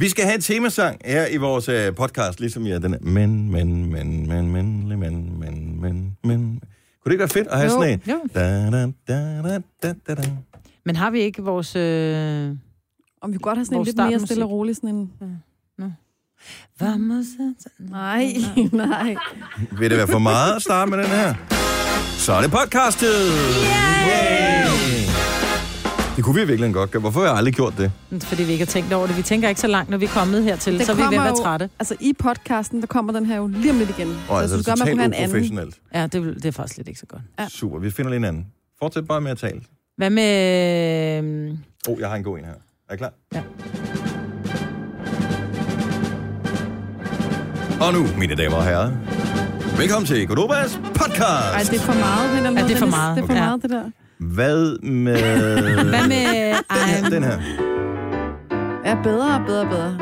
Vi skal have en temasang her i vores øh, podcast, ligesom jeg den er. Men, men, men, men, men, men, men, men, men, men. Kunne det ikke være fedt at have Jo, sådan en? jo. Da, da, da, da, da, da, da. Men har vi ikke vores... Øh... Om vi kunne godt have sådan en Vores lidt mere startmusik. stille og rolig sådan en... Nej, nej. Vil det være for meget at starte med den her? Så er det podcastet! Yay! Det kunne vi virkelig godt gøre. Hvorfor har jeg aldrig gjort det? Fordi vi ikke har tænkt over det. Vi tænker ikke så langt, når vi er kommet hertil, Den så er vi ved at kommer være jo- trætte. Altså i podcasten, der kommer den her jo lige om lidt igen. Og så altså, jeg synes det er godt, man kunne totalt have en anden. uprofessionelt. Ja, det, vil- det er faktisk lidt ikke så godt. Ja. Super, vi finder lige en anden. Fortsæt bare med at tale. Hvad med... øh, Åh, oh, jeg har en god en her. Er I klar? Ja. Og nu, mine damer og herrer, velkommen til Godobas podcast. Ej, det er for meget. Den Ja, det er for meget. Det er for Ja. meget, det der. Hvad med... Hvad med... Den her, Ej, Øh, den her. Ja, bedre, bedre, bedre.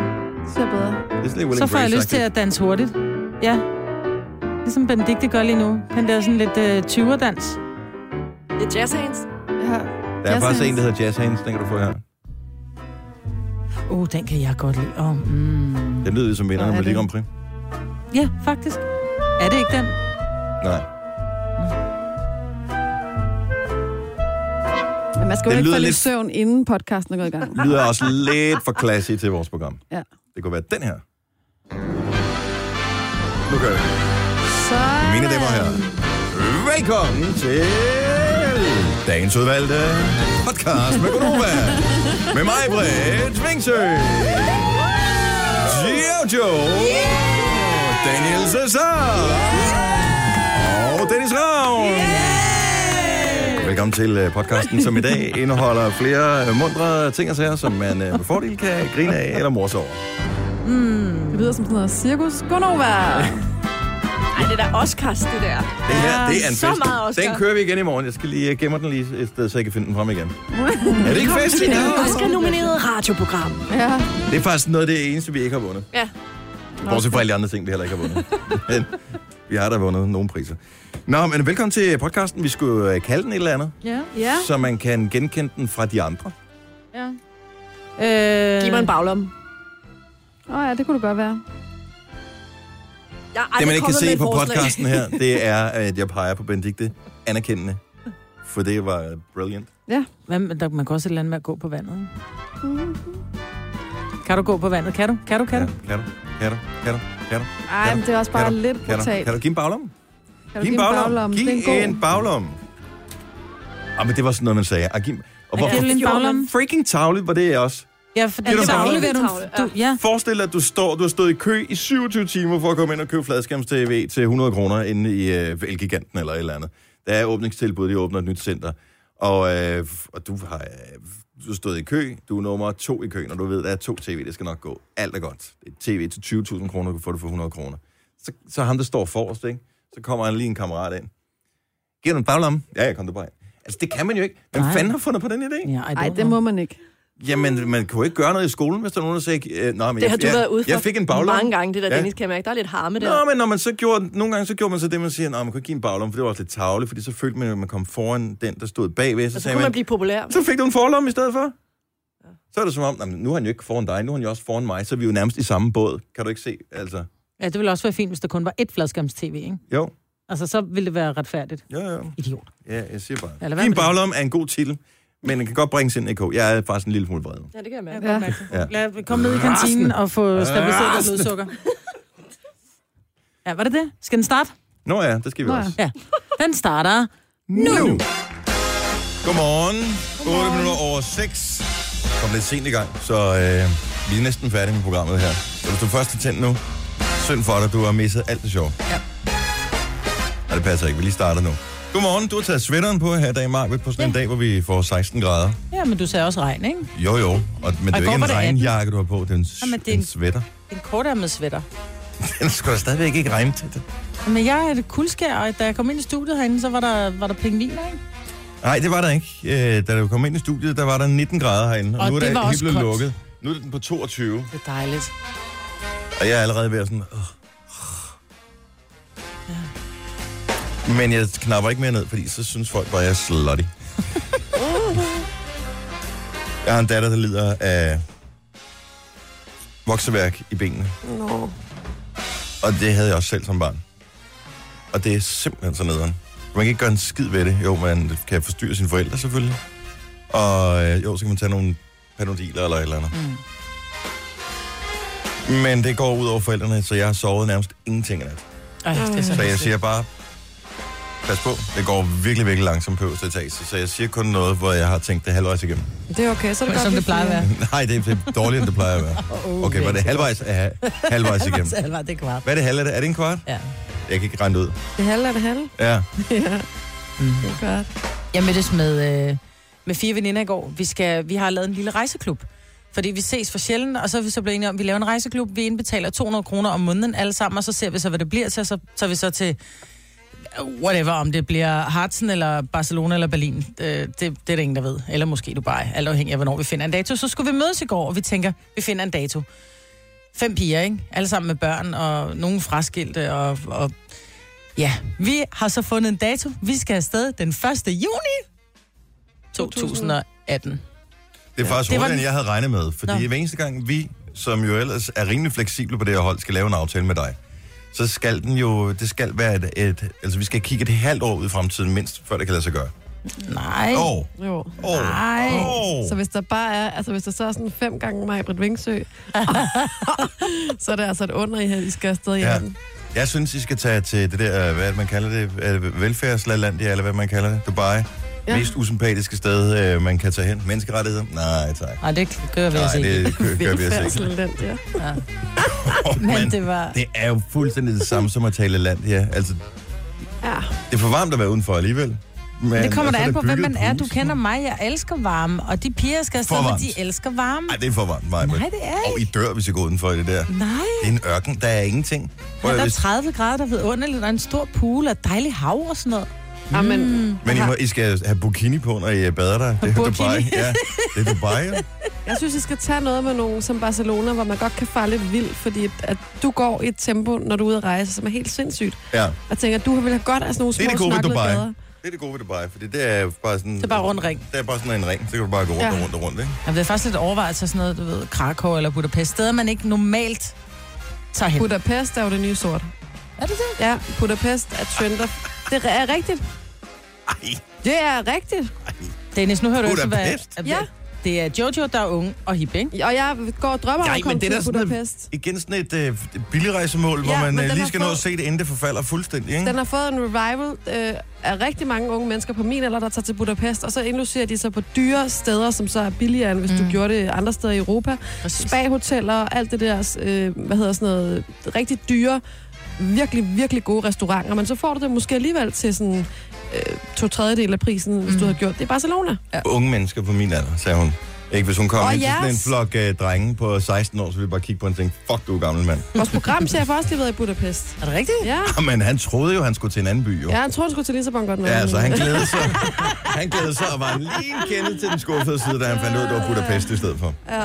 Så bedre. Det er slet ikke så William får jeg Grace-agtigt. lyst til at danse hurtigt. Ja. Ligesom Benedikte gør lige nu. Han der sådan lidt øh, 20'er-dans. Det er jazz hands. Ja. Der er Jazz faktisk en, hands. der hedder Jazz Hands, den kan du få her. Uh, den kan jeg godt lide. Oh, mm. Den lyder ligesom jo som vinderne Hvor på er Ligue det? Grand Prix. Ja, faktisk. Er det ikke den? Nej. Men man skal Det jo ikke lyder falde lidt- lidt... i søvn, inden podcasten er gået i gang. lyder også lidt for classy til vores program. Ja. Det kunne være den her. Nu gør vi det. Så... Mine damer og herrer, velkommen til dagens udvalgte podcast med Gunova. Med mig, Britt Vingsø. Jojo. Daniel Cesar. Og Dennis Ravn. Velkommen til øh, podcasten, som i dag indeholder flere øh, mundre ting og sager, som man øh, med fordel kan grine af eller morse over. Mm. Det lyder som sådan noget cirkus. Gunova! Ej, det er da Oscars, det der. Den her, det er en så fest. meget Oscar. Den kører vi igen i morgen. Jeg skal lige øh, gemme den lige et sted, så jeg kan finde den frem igen. er det ikke fest? Ja. Oscar-nomineret radioprogram. Ja. Det er faktisk noget af det eneste, vi ikke har vundet. Ja. Bortset fra alle de andre ting, vi heller ikke har vundet. men vi har da vundet nogle priser. Nå, men velkommen til podcasten. Vi skulle øh, kalde den et eller andet, Ja. Ja. så man kan genkende den fra de andre. ja. Øh, Giv mig en baglom. Åh ja, det kunne det godt være. Jeg er det, aldrig man ikke kan kommet med se et på forslag. podcasten her, det er, at jeg peger på Benedikte anerkendende. For det var øh, brilliant. Hvad, med- der, man kan også et eller andet med at gå på vandet. ikke? Mm-hmm. Kan du gå på vandet? Kan du? Kan du? Kan du? Ja, kan du? Kan du? Kan du? Kan du? Ej, men det er også bare Kan du- lidt Kan du? brutalt. Kan du give en baglom? Kan Giv en baglomme. Det er en Giv god. en baglomme. Ah, men det var sådan noget, man sagde. Ah, giv... Kan Og du hvorfor en baglom? freaking tavle var det også? Ja, fordi Giv så dig en afleverer du... baglom. du ja. Forestil dig, at du, står, du har stået i kø i 27 timer for at komme ind og købe fladskærms-TV til 100 kroner inde i øh, Elgiganten eller et eller andet. Der er åbningstilbud, de åbner et nyt center. Og, øh, f- og du har øh, du har stået i kø, du er nummer to i køen, og du ved, der er to tv, det skal nok gå. Alt er godt. Et tv til 20.000 kroner, du kan få det for 100 kroner. Så, så ham, der står forrest, ikke? så kommer han lige en kammerat ind. Giver du en baglomme? Ja, jeg kom du bare ind. Altså, det kan man jo ikke. Hvem Nej. fanden har fundet på den idé? Ja, Ej, det må man ikke. Jamen, man kunne ikke gøre noget i skolen, hvis der er nogen, der sagde... Øh, nej, men Det har jeg, du jeg, været ude for Jeg fik en baglomme. mange gange, det der, Ja. ja. Dennis, kan jeg mærke. Der er lidt harme der. Nå, men når man så gjorde, nogle gange så gjorde man så det, man siger, at man kunne ikke give en baglomme, for det var også lidt tavle, fordi så følte man, at man kom foran den, der stod bagved, så, og så så sagde kunne man, man blive populær. så fik du en forlomme i stedet for. Så er det som om, "Nå, men nu er han jo ikke foran dig, nu er han jo også foran mig, så er vi jo nærmest i samme båd. Kan du ikke se? Altså, Ja, det ville også være fint, hvis der kun var ét fladskærms-tv, ikke? jo, Altså, så ville det være retfærdigt. jo, jo. Idiot. Ja, jeg siger bare. Ja, lad være Giv en med det. baglomme er en god titel, men den kan godt bringes ind i K. Jeg er faktisk en lille smule vred. Ja, det kan jeg mærke. Ja. Ja. Lad, kom ned i kantinen og få stabiliseret dit blodsukker. Ja, var det det? Skal den starte? Nå ja, det skal vi Nå ja. også. Ja. Den starter. nu. Godmorgen. 8 minutter over 6. Kom lidt sent i gang, så øh, vi er næsten færdige med programmet her. Så hvis du først er tændt nu, synd for dig, du har misset alt det sjove. Ja. Nej, det passer ikke. Vi lige starter nu. Godmorgen. Du har taget sweateren på her i dag i maj, på sådan en dag, hvor vi får 16 grader. Ja, men du sagde også regn, ikke? Jo, jo. Og, men det er går jo ikke var en det regnjakke, du har på. Det er en, Jamen, det er det en en- sweater. En kortærmet sweater. Den skulle da stadigvæk ikke regne til det. Men jeg er et kuldskær, og da jeg kom ind i studiet herinde, så var der, var der pingviner, ikke? Nej, det var der ikke. Øh, da du kom ind i studiet, der var der 19 grader herinde, og, Og nu er det der var helt også blevet koldt. lukket. Nu er den på 22. Det er dejligt. Og jeg er allerede ved at sådan... Øh, øh. Men jeg knapper ikke mere ned, fordi så synes folk bare, at jeg er slutty. jeg har en datter, der lider af vokseværk i benene. Nå. Og det havde jeg også selv som barn. Og det er simpelthen så nederen. Man kan ikke gøre en skid ved det. Jo, man kan forstyrre sine forældre selvfølgelig. Og øh, jo, så kan man tage nogle panodiler eller et eller andet. Mm. Men det går ud over forældrene, så jeg har sovet nærmest ingenting i nat. Ej, det er så Så jeg hæsligt. siger bare, pas på, det går virkelig, virkelig langsomt på øverste etage. Så jeg siger kun noget, hvor jeg har tænkt det halvvejs igennem. Det er okay, så er det godt. Som vi det plejer at fire. være. Nej, det er, det er dårligere, end det plejer at være. Okay, var det halvvejs, ja, halvvejs igennem? Alvar, det er kvart. Hvad er det halve? af det? Er det en kvart? Ja. Jeg kan ikke regne det ud. Det halve er det halve. Ja. ja, Mhm. det er godt. Jeg mødtes med, øh, med fire veninder i går. Vi, skal, vi har lavet en lille rejseklub. Fordi vi ses for sjældent, og så er vi så blevet enige om, at vi laver en rejseklub. Vi indbetaler 200 kroner om måneden alle sammen, og så ser vi så, hvad det bliver til. og Så tager vi så til whatever, om det bliver Hartsen eller Barcelona eller Berlin. Øh, det, det er der ingen, der ved. Eller måske Dubai, alt afhængig af, hvornår vi finder en dato. Så skulle vi mødes i går, og vi tænker, vi finder en dato. Fem piger, ikke? Alle sammen med børn, og nogle fraskilte, og, og Ja, vi har så fundet en dato. Vi skal afsted den 1. juni 2018. Det Det er faktisk var hurtigere, den- end jeg havde regnet med. Fordi Nå. hver eneste gang vi, som jo ellers er rimelig fleksible på det her hold, skal lave en aftale med dig, så skal den jo, det skal være et, et altså vi skal kigge et halvt år ud i fremtiden mindst, før det kan lade sig gøre. Nej. Åh, Jo. åh, Nej. åh. Så hvis der bare er, altså hvis der så er sådan fem gange mig, Britt Vingsø, så er det altså et under, I, I skal afsted i Ja. ja. den. Jeg synes, I skal tage til det der, øh, hvad er det, man kalder det, Er det velfærdslandia, eller hvad man kalder det, Dubai. Ja. Ja. Mest usympatiske sted, øh, man kan tage hen. Menneskerettigheder? Nej, tak. Nej, det gør vi Nej, altså ikke. det kø- gør vi altså ikke. Oh, Velfærdsland, ja. Åh, Men det var... det er jo fuldstændig det samme som at tale land, ja. Altså, ja. det er for varmt at være udenfor alligevel. Men, Det kommer og så da er an på, hvem bygget man er. Du huse. kender mig, jeg elsker varme, og de piger skal afsted, For men varmt. de elsker varme. Ej, det er for varmt, mig. Nej, det er Og ikke. I dør, hvis I går udenfor i det der. Det Nej, er en ørken, der er ingenting. Prøv, der at- er hvis, 30 grader, der ved underligt, og en stor pool og et dejligt hav og sådan noget. Mm. ja men, men I, må, I skal have bikini på, når I øh, bader der. Det er Burkini. Dubai. Ja, det er Dubai, ja. jeg synes, I skal tage noget med nogen som Barcelona, hvor man godt kan fare lidt vildt, fordi at, at du går i et tempo, når du er ude at rejse, som er helt sindssygt. ja. Og tænker, du vil have godt af sådan nogle Det er det små gode ved snaklede Dubai. gader. Det er det gode ved Dubai, fordi det er jo bare sådan... Det er bare rund ring. Det er bare sådan en ring, så kan du bare gå rundt Ja. og rundt og rundt, ikke? Jamen, det er faktisk lidt overvejelse sådan noget, du ved, Krakow eller Budapest. Steder, man ikke normalt tager hen. Budapest er jo det nye sort. Er det det? Ja, Budapest er trender. Det er rigtigt. Ej, Det er rigtigt. Dennis, nu hører du ikke, hvad... Budapest? at- Ja. Det er Jojo, der er ung og hip, ikke? Og jeg går og drømmer om Nej, at komme men det er da til sådan Budapest. noget, igen sådan et øh, billigrejsemål, hvor Ja, man øh, men den lige har skal nå at fået- se det, inden det forfalder fuldstændig, ikke? Den har fået en revival øh, af rigtig mange unge mennesker på min alder, der tager til Budapest, og så indlucerer de sig på dyre steder, som så er billigere, end hvis mm. du gjorde det andre steder i Europa. Præcis. Spa-hoteller og alt det der, øh, hvad hedder sådan noget, rigtig dyre, virkelig, virkelig gode restauranter, men så får du det måske alligevel til sådan øh, to tredjedel af prisen, hvis mm. du har gjort det i Barcelona. Ja. Unge mennesker på min alder, sagde hun. Ikke, hvis hun kom Og ind til sådan en jeres. flok øh, drenge på 16 år, så ville jeg bare kigge på hende og tænke, fuck du er gammel mand. Vores programchef har også lige været i Budapest. Er det rigtigt? Ja, Men han troede jo, han skulle til en anden by, jo. ja han tror, han skulle til Lissabon godt nok. Ja, så han glædede sig. Han glædede sig og var en lille kende til den skuffede side, da han fandt ud, at det var Budapest i stedet for. Ja.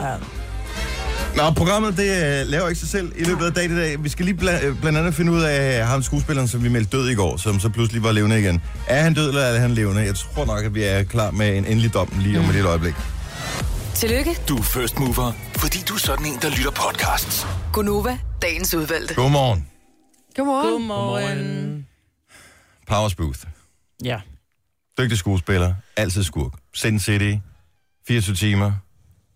Nå, programmet det øh, laver ikke sig selv i løbet af dagen i dag. Vi skal lige bla- øh, blandt andet finde ud af ham skuespilleren, som vi meldte død i går, som så pludselig var levende igen. Er han død, eller er han levende? Jeg tror nok, at vi er klar med en endelig dom lige om et lille øjeblik. Tillykke, Du er first mover, fordi du er sådan en, der lytter podcasts. Gunova, dagens udvalgte. Godmorgen. Godmorgen. Godmorgen. Powers Booth. Ja. Dygtig skuespiller. Altid skurk. Sin City. 24 timer.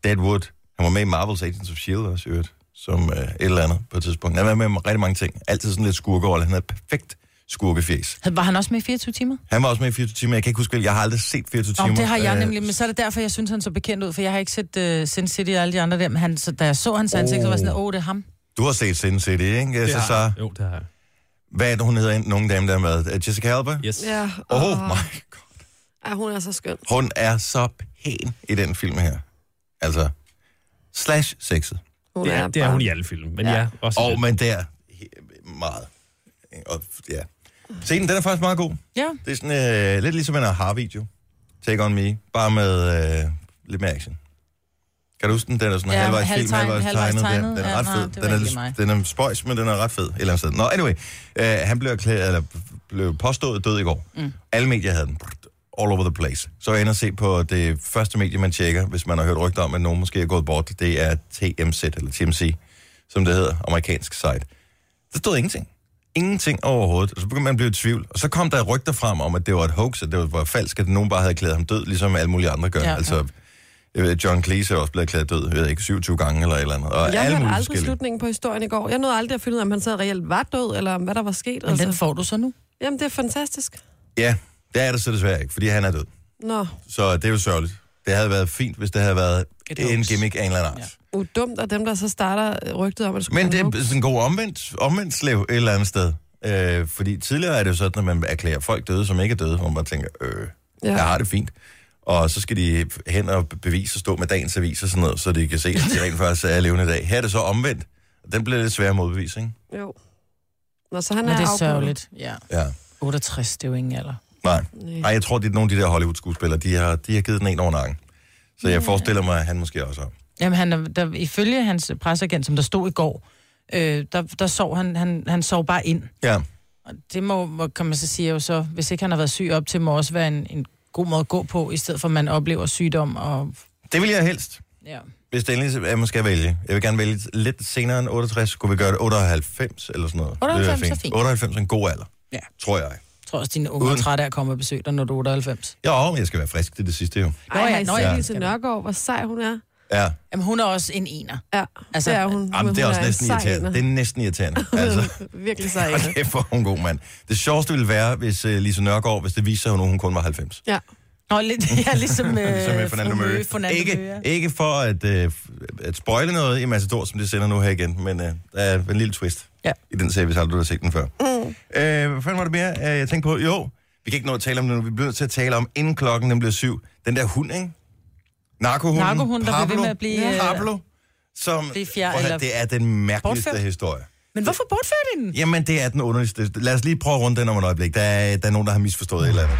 Deadwood. Han var med i Marvel's Agents of S.H.I.E.L.D. også, i øvrigt. Som øh, et eller andet på et tidspunkt. Han var med i rigtig mange ting. Altid sådan lidt skurkerolle. Han havde perfekt skurkefjes. Var han også med i 24 timer? Han var også med i 24 timer. Jeg kan ikke huske, hvilken- jeg har aldrig set 24 Nå, timer. det har jeg Øh, nemlig, men så er det derfor, jeg synes, han så bekendt ud, for jeg har ikke set uh, Sin City og alle de andre der, men han, så, da jeg så hans ansigt, så var jeg sådan, åh, oh, det er ham. Du har set Sin City, ikke? Det Det så, har så, jeg. Jo, det har jeg. hvad er det, hun hedder ind? Nogle dame, der er med. Øh, Jessica Alba? Yes. Ja, Oh, og- my God. Ej, hun er så skøn. Hun er så pæn i den film her. Altså, slash sexet. Hun Det er, det er bare- hun i alle film, men Ja. ja, ja også Og oh, men der he- meget. Og, ja. Scenen, den er faktisk meget god. Ja, Det er sådan øh, lidt ligesom en aha-video. Take on me. Bare med øh, lidt mere action. Kan du huske den? Den er sådan Ja, halvvejs halvtegn- film, halvvejs, halvvejs tegnet. Den, tegnet. den er Ja, ret nej, fed. det var den, er, ikke lidt- mig. den er spøjs, men den er ret fed. Et eller andet sted. Nå, anyway. Øh, han blev, erklæret, eller, blev påstået død i går. Mm. Alle medier havde den. All over the place. Så er jeg inde og se på det første medie, man tjekker, hvis man har hørt rygter om, at nogen måske er gået bort. Det er TMZ, eller TMC. som det hedder, amerikansk site. Der stod ingenting. Ingenting overhovedet. Og så begyndte man at blive i tvivl. Og så kom der rygter frem om, at det var et hoax, at det var falsk, at nogen bare havde klædet ham død, ligesom alle mulige andre gør. Ja, Ja, ja. altså, jeg ved, John Cleese er også blevet klædet død, jeg ved ikke, 27 gange eller et eller andet. Og Jeg alle hørte mulige aldrig forskellige. slutningen på historien i går. Jeg nåede aldrig at finde ud af, om han så reelt var død, eller om hvad der var sket. Men den Altså. får du så nu. Jamen, det er fantastisk. Ja, det er det så desværre ikke, fordi han er død. Nå, Så det er jo sørgeligt. Det havde været fint, hvis det havde været Et en hoax. gimmick af en eller anden art. Ja. udumt af dem, der så starter øh, rygtet om, at det skulle Men være en det er sådan en god omvendt, omvendt slev et eller andet sted. Øh, fordi tidligere er det jo sådan, at man erklærer folk døde, som ikke er døde, hvor man bare tænker, øh, ja. Ja. jeg har det fint. Og så skal de hen og bevise og stå med dagens avis og sådan noget, så de kan se, at de rent faktisk er levende i dag. Her er det så omvendt. Og Den bliver lidt svær at modbevise, ikke? joke. Jo. Nå, så han Men er det er afbrudt. sørgeligt. Ja. Ja. 68, det er jo ingen alder. Nej. Nej. Nej, jeg tror, det er nogle af de der Hollywood-skuespillere, de har, de har givet den en over nakken. Så jeg forestiller mig, at han måske også har. Jamen, han, er- der, ifølge hans presseagent, som der stod i går, øh, der, der sov han, han, han sov bare ind. Ja. Og det må, må, kan man så sige jo så, hvis ikke han har været syg op til, må også være en, en god måde at gå på, i stedet for at man oplever sygdom og... Det vil jeg helst. Ja. Hvis det endelig er, at man skal vælge. Jeg vil gerne vælge lidt senere end 68. Skulle vi gøre det 98 eller sådan noget? 98 Det er ville være fint. 98 er en god alder. Ja. Tror jeg. Jeg tror også, dine unge er Uden- trætte af at komme og besøge dig, når du er 98. Ja, men jeg skal være frisk til det sidste jo. Ej, Nå ja, har I nå ja, set det Lise skal du. Nørgaard, hvor sej hun er? Ja. Jamen, hun er også en ener. Ja, Altså, altså, det er hun. Jamen, hun det er også en næsten sej irriterende. ener. Det er næsten irriterende. Altså, Virkelig sej. og kæft, hvor er hun god, mand. Det sjoveste ville være, hvis uh, Lise Nørgaard, hvis det viser sig, at hun kun var 90. Ja. Nå, lidt, ja, ligesom, øh, Ligesom med Fernando fru Møge. Fernando Møge, Ikke, ja. ikke for at, øh, at spoile noget i Matador, som det sender nu her igen, men øh, der er en lille twist Ja. i den serie, hvis aldrig du har set den før. Mm. Øh, hvad fanden var det mere, øh, jeg tænkte på? Jo, vi kan ikke nå at tale om det nu. Vi bliver nødt til at tale om, inden klokken den bliver syv. Den der hund, ikke? Narkohunden. Narkohunden, der bliver ved med at blive, øh, Pablo, som, blive fjer- Prøv at høre, eller det er den mærkeligste bortført. historie. Men hvorfor bortførte I den? Jamen, det er den underligste. Lad os lige prøve at runde den om et øjeblik. Der er, der er nogen, der har misforstået et eller andet.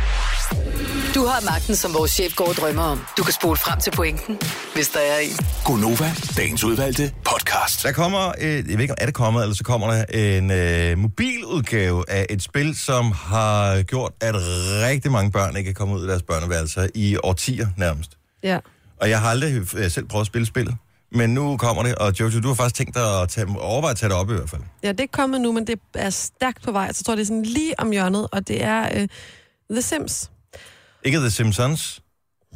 Du har magten, som vores chef går og drømmer om. Du kan spole frem til pointen, hvis der er en. Gonova, dagens udvalgte podcast. Der kommer, øh, jeg ved ikke om er det kommet, eller så kommer der en øh, mobiludgave af et spil, som har gjort, at rigtig mange børn ikke er kommet ud af deres børneværelser i årtier nærmest. Ja. Og jeg har aldrig øh, selv prøvet at spille spillet, men nu kommer det, og Jojo, du har faktisk tænkt dig at tage, overveje at tage det op i hvert fald. ja, det er kommet nu, men det er stærkt på vej. Så jeg tror, det er sådan lige om hjørnet, og det er øh, The Sims. Ikke The Simpsons,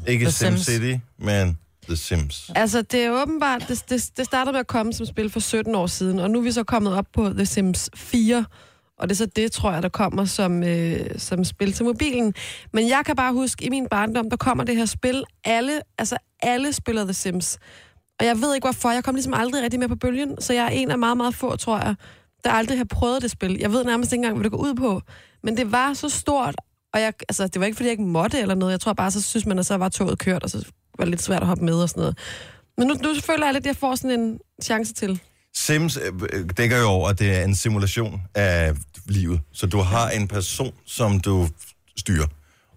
ikke The The Sim Sims. City, men The Sims. Altså, det er åbenbart, det, det, det startede med at komme som spil for 17 år siden, og nu er vi så kommet op på The Sims 4, og det er så det, tror jeg, der kommer som, øh, som spil til mobilen. Men jeg kan bare huske, i min barndom, der kommer det her spil, alle, altså alle spiller The Sims. Og jeg ved ikke hvorfor, jeg kom ligesom aldrig rigtig med på bølgen, så jeg er en af meget, meget få, tror jeg, der aldrig har prøvet det spil. Jeg ved nærmest ikke engang, hvad det går ud på. Men det var så stort, og jeg, altså, det var ikke, fordi jeg ikke måtte eller noget. Jeg tror bare, så synes man, at så var toget kørt, og så var det lidt svært at hoppe med og sådan noget. Men nu, nu føler jeg lidt, at jeg får sådan en chance til. Sims øh, øh, dækker jo over, at det er en simulation af livet. Så du har en person, som du styrer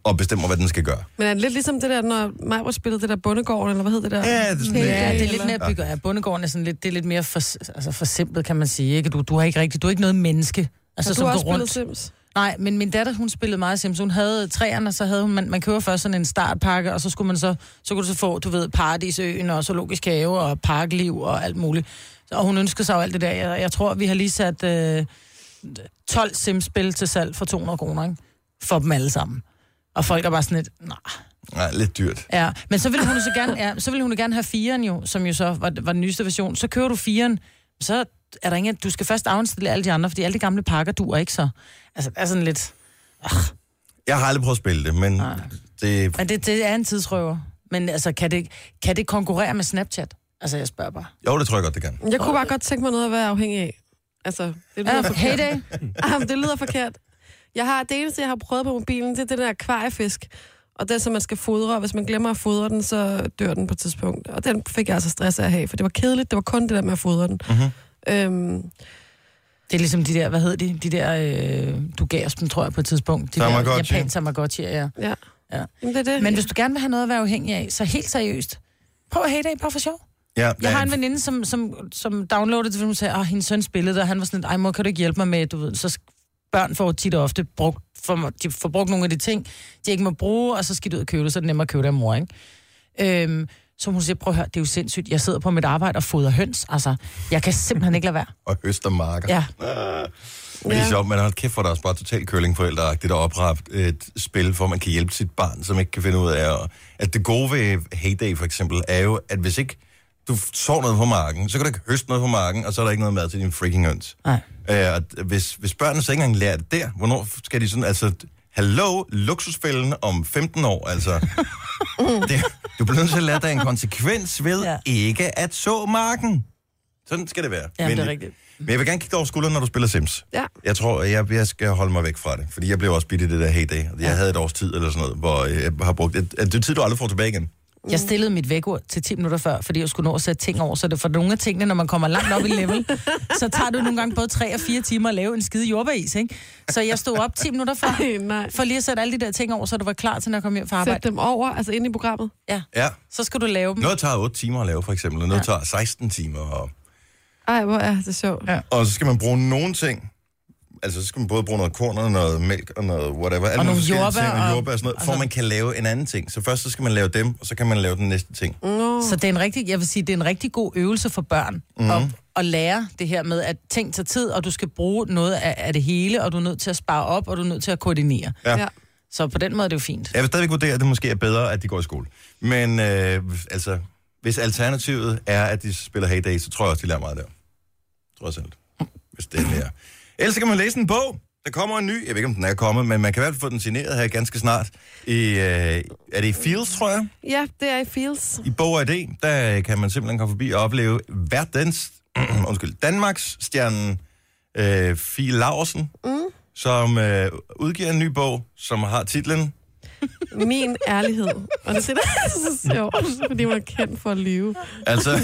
og bestemmer, hvad den skal gøre. Men er det lidt ligesom det der, når Majbert spillede det der bondegården, eller hvad hed det der? Ja, det er sådan Ja, det er lidt eller- mere bygger. Ja, bondegården er sådan lidt, det er lidt mere for, altså forsimplet, kan man sige. Ikke? Du, du har ikke rigtig, du er ikke noget menneske. Altså, Har du som har går også spillet rundt. Sims. Nej, men min datter, hun spillede meget Sims. Hun havde træerne, og så havde hun, man, man køber først sådan en startpakke, og så skulle man så, så kunne du så få, du ved, Paradisøen og zoologisk have og parkliv og alt muligt. Så- Og hun ønskede sig jo alt det der. Jeg, jeg tror, vi har lige sat øh, 12 Sims-spil til salg for 200 kroner, ikke? For dem alle sammen. Og folk er bare sådan lidt, nej. Nej, lidt dyrt. Ja, men så ville hun jo så gerne, ja, så ville hun jo gerne have firen jo, som jo så var, var den nyeste version. Så kører du firen, så er der ingen, du skal først afindstille alle de andre, fordi alle de gamle pakker duer ikke så. Altså, det er sådan lidt... Jeg har aldrig prøvet at spille det, men Nej. det... Men det, det er en tidsrøver. Men altså, kan det, kan det konkurrere med Snapchat? Altså, jeg spørger bare. Jo, det tror jeg godt, det kan. Jeg kunne bare godt tænke mig noget at være afhængig af. Altså, det lyder, Ja, hey day. Jamen, det lyder forkert. Jeg har, det eneste, jeg har prøvet på mobilen, det er den der akvariefisk. Og den, som man skal fodre, og hvis man glemmer at fodre den, så dør den på et tidspunkt. Og den fik jeg altså stress af at have, for det var kedeligt. Det var kun det der med at fodre den. Mhm. Mm-hmm. Øhm, Det er ligesom de der, hvad hedder de? De der, øh, du gav os dem, tror jeg, på et tidspunkt. De der Tamagotchi. japan Tamagotchi, ja. ja. Ja. Jamen, det er det. Men hvis du gerne vil have noget at være afhængig af, så helt seriøst, prøv at hey day, bare for sjov. Ja, Jeg mm. har en ja, veninde, som, som, som downloadede det, fordi hun sagde, at hendes søn spillede det, og han var sådan, lidt, ej mor, kan du ikke hjælpe mig med, du ved, så sk- børn får tit og ofte brugt, for, de får brugt nogle af de ting, de ikke må bruge, og så skal de ud og købe det, så er det nemmere at købe det af mor, ikke? Øhm, som hun siger, prøv at høre, det er jo sindssygt. Jeg sidder på mit arbejde og fodrer høns. Altså, jeg kan simpelthen ikke lade være. og høstermarker. Ja. Men det er Ja. sjovt, man har kæft for, der er også bare totalt curlingforældreagtigt at oprette et spil, hvor man kan hjælpe sit barn, som ikke kan finde ud af. At, at det gode ved Heyday for eksempel er jo, at hvis ikke du sår noget på marken, så kan du ikke høste noget på marken, og så er der ikke noget mad til din freaking høns. Nej. Øh, og hvis, hvis børnene så ikke engang lærer det der, hvornår skal de sådan, altså, hallo, luksusfælden om 15 år, altså. det, du bliver nødt til at lære dig en konsekvens ved ja. Ja. ikke at så marken. Sådan skal det være. Ja, det er Men- rigtigt. Men jeg vil gerne kigge dig over skulderen, når du spiller Sims. Ja. Jeg tror, jeg, jeg skal holde mig væk fra det, fordi jeg blev også bidt i det der hey day. Jeg ja. havde et års tid eller sådan noget, hvor jeg har brugt... Et, er det tid, du aldrig får tilbage igen? Jeg stillede mit vækord til 10 minutter før, fordi jeg skulle nå at sætte ting over, så det for nogle af tingene, når man kommer langt op i level, så tager det nogle gange både 3 og 4 timer at lave en skide jordbæris, ikke? Så jeg stod op 10 minutter før, Ej, nej. for lige at sætte alle de der ting over, så du var klar til, når jeg kom hjem fra Sæt arbejde. dem over, altså ind i programmet. Ja. Ja. Så skal du lave dem. Noget tager 8 timer at lave, for eksempel, og noget ja. tager 16 timer. Og, Ej, hvor er det sjovt. Ja. og så skal man bruge nogle ting. Altså, så skal man både bruge noget korn og noget mælk og noget whatever. Alle Og nogle forskellige jordbær ting, og og- altså- jordbær og sådan noget, og for så- man kan lave en anden ting. Så først så skal man lave dem, og så kan man lave den næste ting. Så det er en rigtig, jeg vil sige, det er en rigtig god øvelse for børn Mhm. mm. at, at lære det her med, at ting tager tid, og du skal bruge noget af, af det hele, og du er nødt til at spare op, og du er nødt til at koordinere. Ja. ja. Så på den måde er det jo fint. Jeg vil stadigvæk vurdere, at det måske er bedre, at de går i skole. Men øh, altså, hvis alternativet er, at de spiller Hey Day, så tror jeg også, de lærer meget der. Tror jeg selv. Hvis det er lærer. Ellers så kan man læse en bog. Der kommer en ny. Jeg ved ikke, om den er kommet, men man kan i hvert fald få den signeret her ganske snart. I, øh, er det i Fields, tror jeg? Ja, det er i Fields. I Bog og ID, der kan man simpelthen komme forbi og opleve verdens, undskyld, Danmarks stjernen øh, Fie Larsen, mm. som øh, udgiver en ny bog, som har titlen Min ærlighed. Og det er det, der er så sjovt, fordi man er kendt for at lyve. Altså.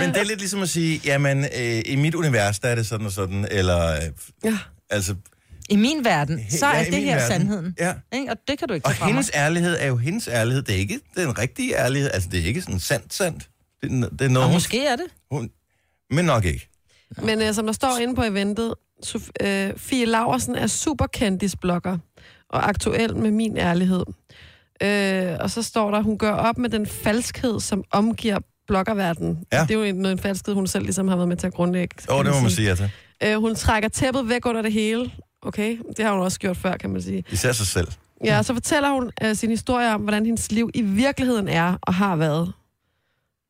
Men det er lidt ligesom at sige, jamen, øh, i mit univers, der er det sådan og sådan, eller, øh, Ja. altså... I min verden, he- så ja, er i det min her verden. sandheden. Ja. Ikke? Og det kan du ikke Og tage fra mig. hendes ærlighed er jo hendes ærlighed. Det er ikke den rigtige ærlighed. Altså, det er ikke sådan sandt, sandt. Det, er n- det er Og noget, hun, måske er det. hun, men nok ikke. Men øh, som der står inde på eventet, Sof- øh, Fie Laversen er superkendisblogger og aktuel med min ærlighed. Øh, og så står der, hun gør op med den falskhed, som omgiver bloggerverdenen. Ja. Det er jo en, noget en falskhed, hun selv ligesom har været med til at grundlægge. kan Åh, oh, det må man sige. sige, altså. Øh, hun trækker tæppet væk under det hele. Okay, det har hun også gjort før, kan man sige. Især sig selv. Ja, og så fortæller hun øh, sin historie om, hvordan hendes liv i virkeligheden er og har været.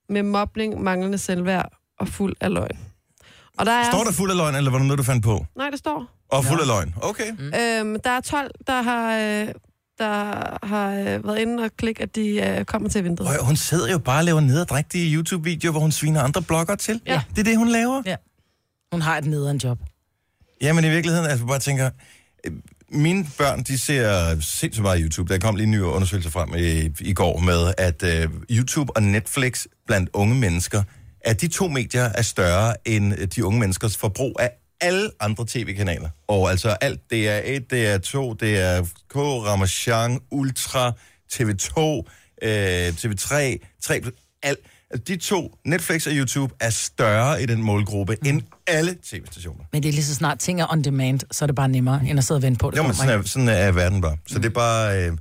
Med mobning, manglende selvværd og fuld af løgn. Og der er... Står der fuld af løgn, eller var det noget, du fandt på? Nej, det står. Og fuld af løgn. Okay. Mm. Øhm, der er 12, der har, øh, der har øh, været inde og klikke, at de øh, kommer til vinduet. Og hun sidder jo bare og laver nederdrægtige YouTube-videoer, hvor hun sviner andre bloggere til. Ja. Det er det, hun laver. Hun har et nederen job. Jamen i virkeligheden, altså bare tænker, øh, mine børn, de ser sindssygt meget YouTube. Der kom lige en ny undersøgelse frem i, i går med, at øh, YouTube og Netflix blandt unge mennesker, at de to medier er større end øh, de unge menneskers forbrug af alle andre tv-kanaler. Og altså alt, det er 1, det er 2, det er K, Ramachan, Ultra, TV2, øh, TV3, 3, alt. Altså, De to, Netflix og YouTube, er større i den målgruppe end alle tv-stationer. Men det er lige så snart ting er on demand, så er det bare nemmere, end at sidde og vente på, at det Mm. Jo, men kommer. sådan ikke? er, sådan er verden bare. Så det er bare... Øh,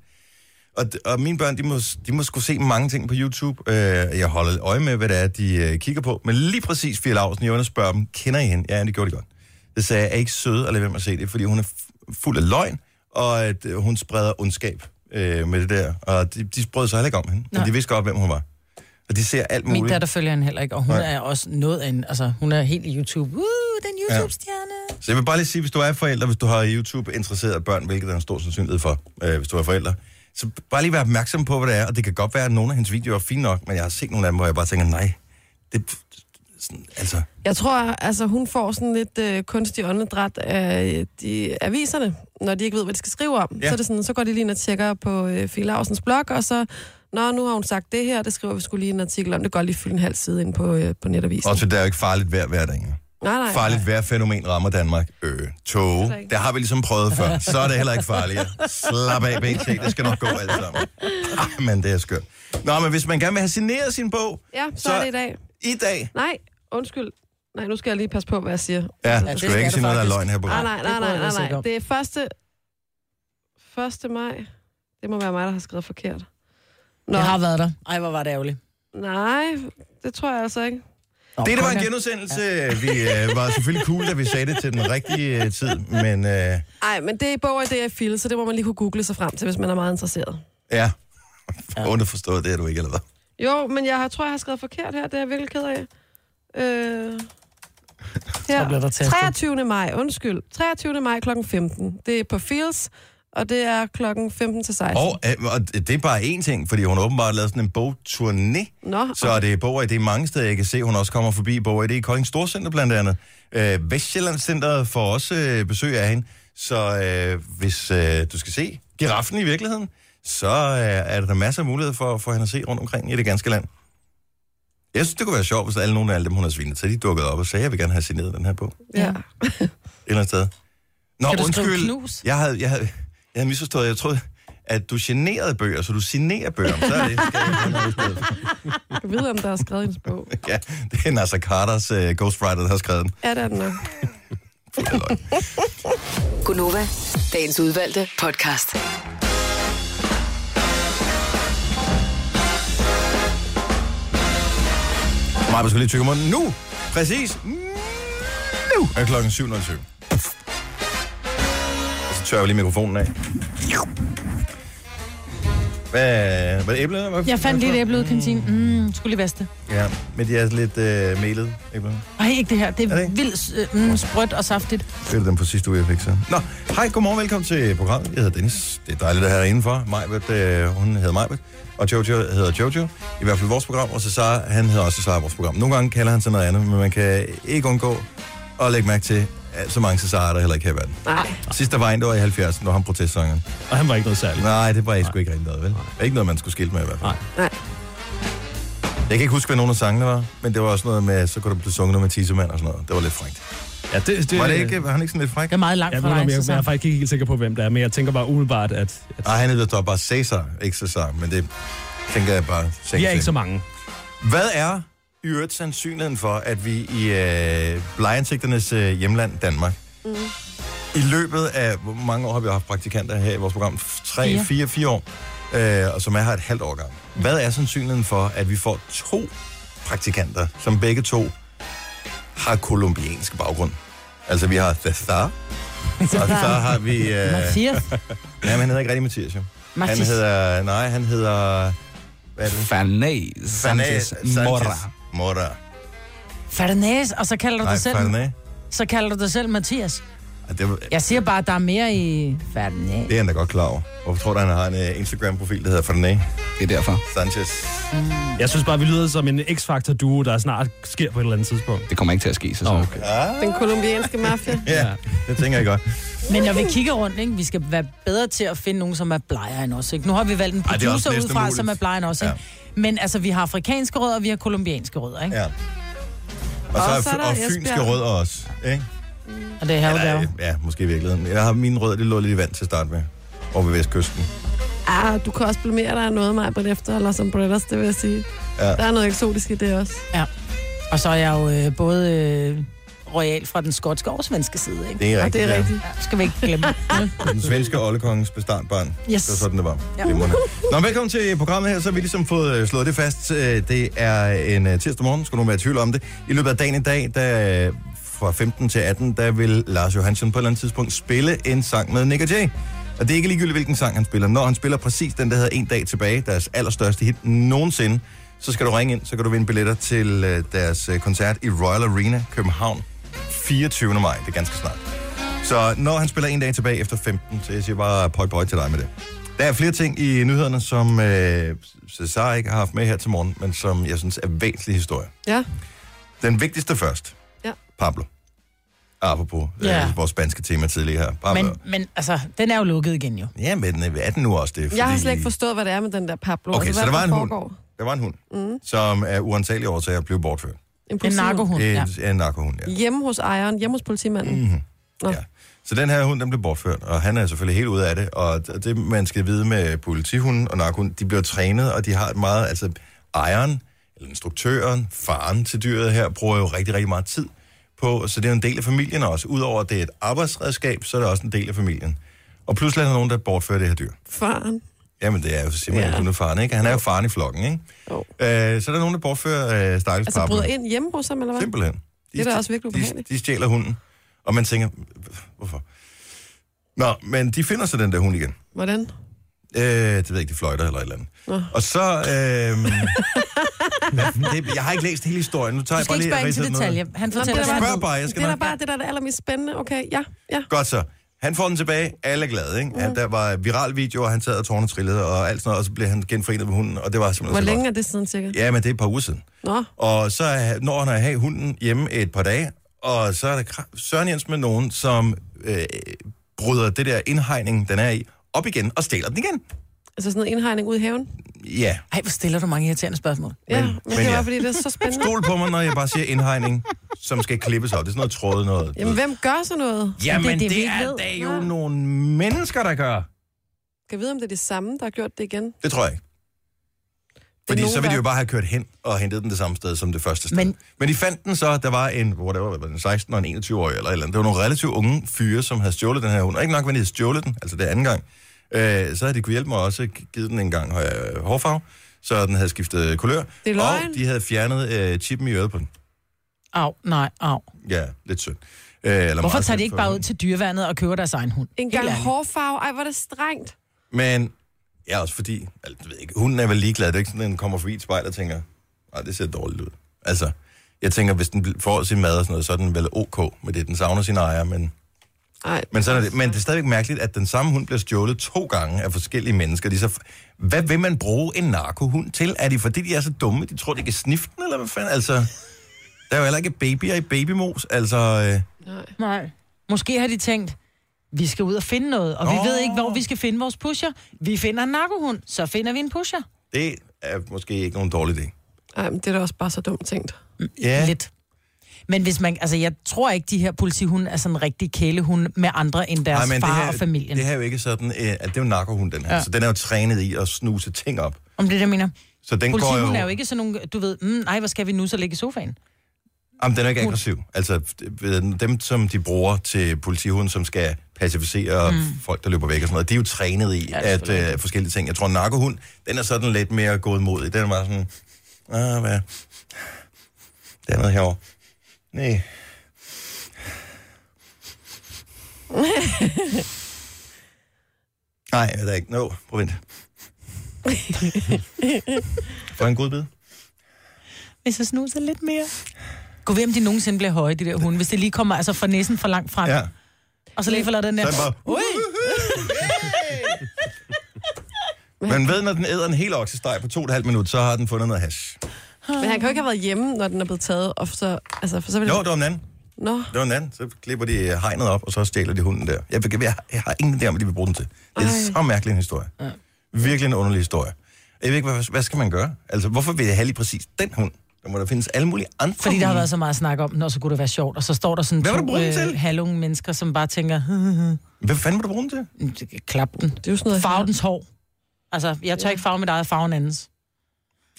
og, og mine børn, de må, de må skulle se mange ting på YouTube. Øh, jeg holder øje med, hvad det er, de øh, kigger på. Men lige præcis Fia Lausen, jeg spørger dem, kender I hende? Ja, det gjorde de godt. Det sagde jeg, er I ikke søde at lade være med at se det, fordi hun er f- fuld af løgn, og at øh, hun spreder ondskab øh, med det der. Og de, de sprød sig heller ikke om hende, men Nej. de vidste godt, hvem hun var. Og de ser alt muligt. Min datter følger hende heller ikke, og hun Nej. Nej. er også noget af en, altså hun er helt i YouTube. Uh, den YouTube-stjerne. Så jeg vil bare lige sige, hvis du er forælder, hvis du har YouTube-interesserede børn, hvilket der er en stor sandsynlighed for, øh, hvis du er forælder, så bare lige være opmærksom på, hvad det er. Og det kan godt være, at nogle af hendes videoer er fine nok, men jeg har set nogle af dem, hvor jeg bare tænker, nej, det sådan, altså... Jeg tror, altså hun får sådan lidt øh, kunstig åndedræt af øh, de aviserne, når de ikke ved, hvad de skal skrive om. Ja. Ja. Så, er det sådan, så går de lige ind og tjekker på øh, Fie Larsens blog, og så, nå, nu har hun sagt det her, det skriver vi skulle lige en artikel om. Det går lige fylde en halv side ind på, øh, på netavisen. Og så det er jo ikke farligt vejr hver dag. ikke? nej, nej. Farligt vejr fænomen rammer Danmark. Øh, tog. Der har vi ligesom prøvet før. Så er det heller ikke farligt. Slap af, BT. Det skal nok gå alt sammen. Ah, men det er skørt. Nå, men hvis man gerne vil have signeret sin bog, Ja, så, så er det i dag. i dag... Nej, undskyld. Nej, nu skal jeg lige passe på, hvad jeg siger. Ja, Altså, ja det skal skal jeg ikke du sige noget, der er faktisk. løgn her på Nej, nej, Det nej, bryder jeg mig nej, ikke nej. om. Det er første... 1. maj. Det må være mig, der har skrevet forkert. Nå, Jeg har været der. Ej, hvor var det ærgerligt. Nej, det tror jeg altså ikke. Det, der var en genudsendelse, vi øh, var selvfølgelig cool, da vi sagde det til den rigtige øh, tid, men øh, Nej, men det er bog, og det er fil, så det må man lige kunne google sig frem til, hvis man er meget interesseret. ja, underforstået, det er du ikke, eller hvad? Jo, men jeg har, tror, jeg har skrevet forkert her. Det er jeg virkelig ked af. Øh, her. bliver der tastet. 23. maj, undskyld. 23. maj kl. 15. Det er på Fields, og det er klokken 15 til 16. Og, øh, og det er bare én ting, fordi hun har åbenbart lavet sådan en bogturné, Nå, så er det Bog ID mange steder, jeg kan se, hun også kommer forbi Bog ID i Kolding Storcenter blandt andet. Øh, Vestjyllandscenteret får også øh, besøg af hende, så øh, hvis øh, du skal se giraffen i virkeligheden, så øh, er der masser af muligheder for, for hende at se rundt omkring i det ganske land. Jeg synes, det kunne være sjovt, hvis alle nogle af alle dem, hun har svinet til, de dukkede op og sagde, jeg vil gerne have signeret den her bog. Et Ja. eller andet sted. Nå, Kan du skrive undskyld. knus? Jeg havde, jeg, havde, jeg havde misforstået. Jeg troede, at du generede bøger, så du signerer bøger. Men Så er det. Jeg ved, om der er skrevet en bog. Ja, det er Nasser Carters uh, ghostwriter, der har skrevet den. Er der den nok? Det er løgn. Gunova, dagens udvalgte podcast. Maja, vi skal lige tykke mig nu. Præcis. Nu er klokken 7.07. Og så tørrer vi lige mikrofonen af. Hvad, var det æble? eller Hvad, Jeg fandt hvad lige et æble ud i kantinen. Mm, skulle lige vaske det. Ja, men de er lidt øh, melet. æbler. Ej, ikke det her. Det er, Er det er ikke? det vildt øh, mm, sprødt og saftigt. Det er dem på sidste uge, jeg fik så. Nå, hej, godmorgen, velkommen til programmet. Jeg hedder Dennis. Det er dejligt at have dig indenfor. Majbert, øh, hun hedder Majbert. Og Jojo hedder Jojo. I hvert fald vores program. Og Cesar, han hedder også Cesar i vores program. Nogle gange kalder han sig noget andet, men man kan ikke undgå at lægge mærke til, at så mange Cesarer der heller ikke her i verden. Nej. Sidst der var en, der var i 70'erne, når han protestsangeren. Og han var ikke noget særligt. Nej, det var jeg sgu ikke rigtig noget, vel? Ikke noget, man skulle skille med i hvert fald. Nej. Nej. Jeg kan ikke huske, hvad nogen af sangene var, men det var også noget med, så kunne der blive sunget noget med tissemand og sådan noget. Det var lidt frækt. Ja, det, det, Var det ikke, var han ikke sådan lidt fræk? Det er meget langt Jeg, fra ved, om dig, jeg, jeg er Susanne. faktisk ikke helt sikker på, hvem det er, men jeg tænker bare umiddelbart, at, at Nej, han hedder dog bare Cæsar, ikke Cæsar, men det tænker jeg bare. vi er til. ikke så mange. Hvad er i øvrigt sandsynligheden for, at vi i øh, blegeansigternes øh, hjemland, Danmark, mm. i løbet af, hvor mange år har vi haft praktikanter her i vores program? 3, Fire. 4, 4 år, øh, og som er her et halvt år gammel. Hvad er sandsynligheden for, at vi får to praktikanter, som begge to har kolumbiansk baggrund? Altså, vi har Thasar, og så har vi... Øh, Mathias. ja, men han hedder ikke rigtig Mathias, jo. Han Mathias. hedder... Nej, han hedder... Hvad er det? Fanay Fernan- Sanchez Mora. Mora. Fernandes, og så kalder du Nej, dig selv, Fernan. så kalder du dig selv Mathias. Ah, Det, var- Jeg siger bare, at der er mere i Fernandes. Mm. det er han da godt klar over. Hvorfor tror du, han har en øh, Instagram-profil, der hedder Fernan Det er derfor. Sanchez? Jeg synes bare, vi lyder som en X-Factor-duo, der snart sker på et eller andet tidspunkt. Det kommer ikke til at ske, så så. Okay. Den kolumbianske mafia. Ja, det tænker jeg godt. Men når vi kigger rundt, ikke, vi skal være bedre til at finde nogen, som er blegere end os. Ikke? Nu har vi valgt en Ej, det er også producer Ej, næsten udefra, umuligt. som er blegere end os. Ikke? Men altså, vi har afrikanske rødder, og vi har kolumbianske rødder. Ikke? Ja. Og så, Og så er er, der og fynske Esbjerg. rødder også, ikke? Og det er her, Eller, ja, øh, ja, måske i virkeligheden. Jeg har mine rødder, det lå lidt i vand til at starte med. Over ved vestkysten. Ah, du kan også blamere dig af noget, mig på efter, eller som Bretters, det vil jeg sige. Ja. Der er noget eksotisk i det også. Og så er jeg jo øh, både øh, royal fra den skotske og svenske side. Ikke? Det er Og rigtigt. det er rigtigt. Det skal vi ikke glemme. Ja. Den svenske oldekongens bestandbarn. Yes. Det var sådan, det var. Ja. Glimrende. Nå, velkommen til programmet her. Så har vi ligesom fået øh, slået det fast. Øh, Det er en øh, tirsdag morgen, skulle nogen være i tvivl om det. I løbet af dagen i dag, der, øh, fra 15 til 18, der vil Lars Johansen på et eller andet tidspunkt spille en sang med Nick Jay. Og det er ikke ligegyldigt, hvilken sang han spiller. Når han spiller præcis den, der hedder En dag tilbage, deres allerstørste hit nogensinde, så skal du ringe ind, så kan du vinde billetter til øh, deres øh, koncert i Royal Arena, København, 24. maj. Det er ganske snart. Så når han spiller en dag tilbage efter 15, så jeg siger bare pøj pøj til dig med det. Der er flere ting i nyhederne, som øh, Cesar ikke har haft med her til morgen, men som jeg synes er væsentlige historier. Ja. Den vigtigste først. Ja. Pablo. Apropos ja. Ja. øh, vores spanske tema tidligere her. Pablo. Men, men altså, den er jo lukket igen jo. Ja, men øh, er den nu også det? Fordi... Jeg har slet ikke forstået, hvad det er med den der Pablo. Okay, altså, så hvad der var der en hund. foregår. Der var en hund, mm. som af uantagelige årsager blev bortført. En Impulsiv. narkohund, Det ja. er ja. en narkohund, ja. Mhm. Hjemme hos ejeren, hjemme hos politimanden. Mm. Nå. Ja. Så den her hund, den blev bortført, og han er selvfølgelig helt ude af det. Og det, man skal vide med politihunden og narkohunden, de bliver trænet, og de har et meget, altså ejeren, eller instruktøren, faren til dyret her, bruger jo rigtig, rigtig meget tid på, så det er jo en del af familien også. Udover at det er et arbejdsredskab, så er det også en del af familien. Og pludselig er der nogen, der bortfører det her dyr. Faren. Jamen, det er jo simpelthen ja. kun faren, ikke? Han er jo faren i flokken, ikke? Jo. Øh, så er der nogen, der bortfører øh, stakkels Altså Pablo. bryder ind hjemme hos ham, eller hvad? Simpelthen. De Det er da også virkelig de, ubehageligt. de stjæler hunden. Og man tænker, hvorfor? Nå, men de finder så den der hund igen. Hvordan? Øh, det ved jeg ikke, de fløjter eller et eller andet. Nå. Og så... Øh, det, jeg har ikke læst hele historien. Nu tager Du jeg skal bare ikke lige spørge ind til ridset noget. detaljer. Han Nå, fortæller, det hvad er han Spørg bare, jeg skal det er da nok... bare det, der er det allermest spændende. Okay, ja, ja. Godt så. Han får den tilbage. Alle er glade, ikke? Mm. Der var viral video, og han sad og tårne trillede og alt sådan noget, og så blev han genforenet med hunden, og det var simpelthen Hvor så længe er det siden cirka? godt. Ja, men det er et par uger siden. Nå, Og så er- når han at have hunden hjemme et par dage, og så er der kra- Søren Jens med nogen, som øh, bryder det der indhegning, den er i, op igen og stjæler den igen. altså sådan noget indhegning ud i haven. Ja, Ej, hvor stiller du mange irriterende spørgsmål. Ja, Men- men, men men det er ja. bare, fordi det er så spændende. stol på mig, når jeg bare siger indhegning, som skal klippes op. Det er sådan noget tråd, noget... Jamen, hvem gør så noget? Jamen, det- det, det det, vi det ikke er ved. da Ja. jo nogle mennesker, der gør. Kan jeg vide, om det er det samme, der har gjort det igen? Det tror jeg ikke. er Fordi nogen, så ville de jo der- bare have kørt hen og hentet den det samme sted som det første sted. Men, Men- Men de fandt den så, der var en, hvor der var en 16 og en 21-årig eller et eller andet. Det var nogle relativt unge fyre, som havde stjålet den her hund. Og ikke nok, men de havde stjålet den, altså det er anden gang. Øh, så havde de kunne hjælpe mig også givet den en gang øh, hårfarve, så den havde skiftet kulør. Det er og løgn. de havde fjernet øh, chippen i øret på den. Au, nej, au. Ja, lidt synd. Øh, eller Hvorfor meget tager synd de ikke for bare ud hunden. til dyreværnet og køber deres egen hund? En Helt gang ærligt. hårfarve. Ej, hvor er det strengt. Men ja, også fordi, altså, jeg ved ikke, hunden er vel ligeglad. Det er ikke sådan, at den kommer forbi et spejl og tænker, nej, det ser dårligt ud. Altså, jeg tænker, hvis den bl- får sin mad og sådan noget, så er den vel ok med det. Den savner sin ejer, men, Ej, men, sådan er det. men det er stadigvæk mærkeligt, at den samme hund bliver stjålet to gange af forskellige mennesker. De er så, f- hvad vil man bruge en narkohund til? Er det fordi, de er så dumme, de tror, de kan snifte den, eller hvad fanden? Altså, der er jo heller ikke babyer i babymos. Altså, øh, Nej. Måske har de tænkt, vi skal ud og finde noget, og vi Nå. ved ikke, hvor vi skal finde vores pusher. Vi finder en narkohund, så finder vi en pusher. det er måske ikke nogen dårlig idé. ej, men det er da også bare så dumt tænkt. Ja, Lidt. Men hvis man, altså jeg tror ikke, de her politihunde er sådan rigtig kælehunde med andre end deres Ej, det far her, og familien. Det her er jo ikke sådan, øh, at det er jo en narkohund, den her. Ja. Ja. Så den er jo trænet i at snuse ting op. Om det, er det, jeg mener. Så den går jo... Politihunden er jo ikke sådan nogle, du ved, mm, nej, hvor skal vi nu så ligge i sofaen? Jamen, den er jo ikke aggressiv. Altså, øh, dem, som de bruger til politihunden, som skal pacificere mm. folk, der løber væk og sådan noget, de er jo trænet i ja, at, øh, forskellige ting. Jeg tror, en narkohund, den er sådan lidt mere godmodig. Den er bare sådan... Ah, hvad? Der er noget herovre. Nej. Nej, jeg ved det ikke. Nå, no, prøv at vent. Får jeg en god bid? Hvis jeg snuser lidt mere. Gå ved, om de nogensinde bliver høje, de der hunde, hvis det lige kommer altså fra næsen for langt frem, ja. Ja. og så lige forlader den der. Så er den bare, Man ved, når den æder en hel oksesteg på to og et halvt minut, så har den fundet noget hash. Men han kan jo ikke have været hjemme, når den er blevet taget. Og så, altså, for så vil Jo, det... det var en anden. Nå, Det var en anden. Så klipper de øh, hegnet op, og så stjæler de hunden der. Jeg, jeg, jeg, jeg har ingen idé om, hvad de vil bruge den til. Det er Ej. så mærkelig en historie. Virkelig en underlig historie. Jeg ved ikke, hvad, hvad skal man gøre? Altså, hvorfor vil jeg have lige præcis den hund? Der må der findes alle mulige andre Fordi der har hunde. været så meget snak om, når så kunne det være sjovt, og så står der sådan Hvad vil du to øh, bruge den til? halvunge mennesker, som bare tænker, Hvad fanden må du bruge den til? Mm, klap den. det er jo sådan noget... Farve dens hår. Altså, jeg tør ikke farve mit eget, farve en andens.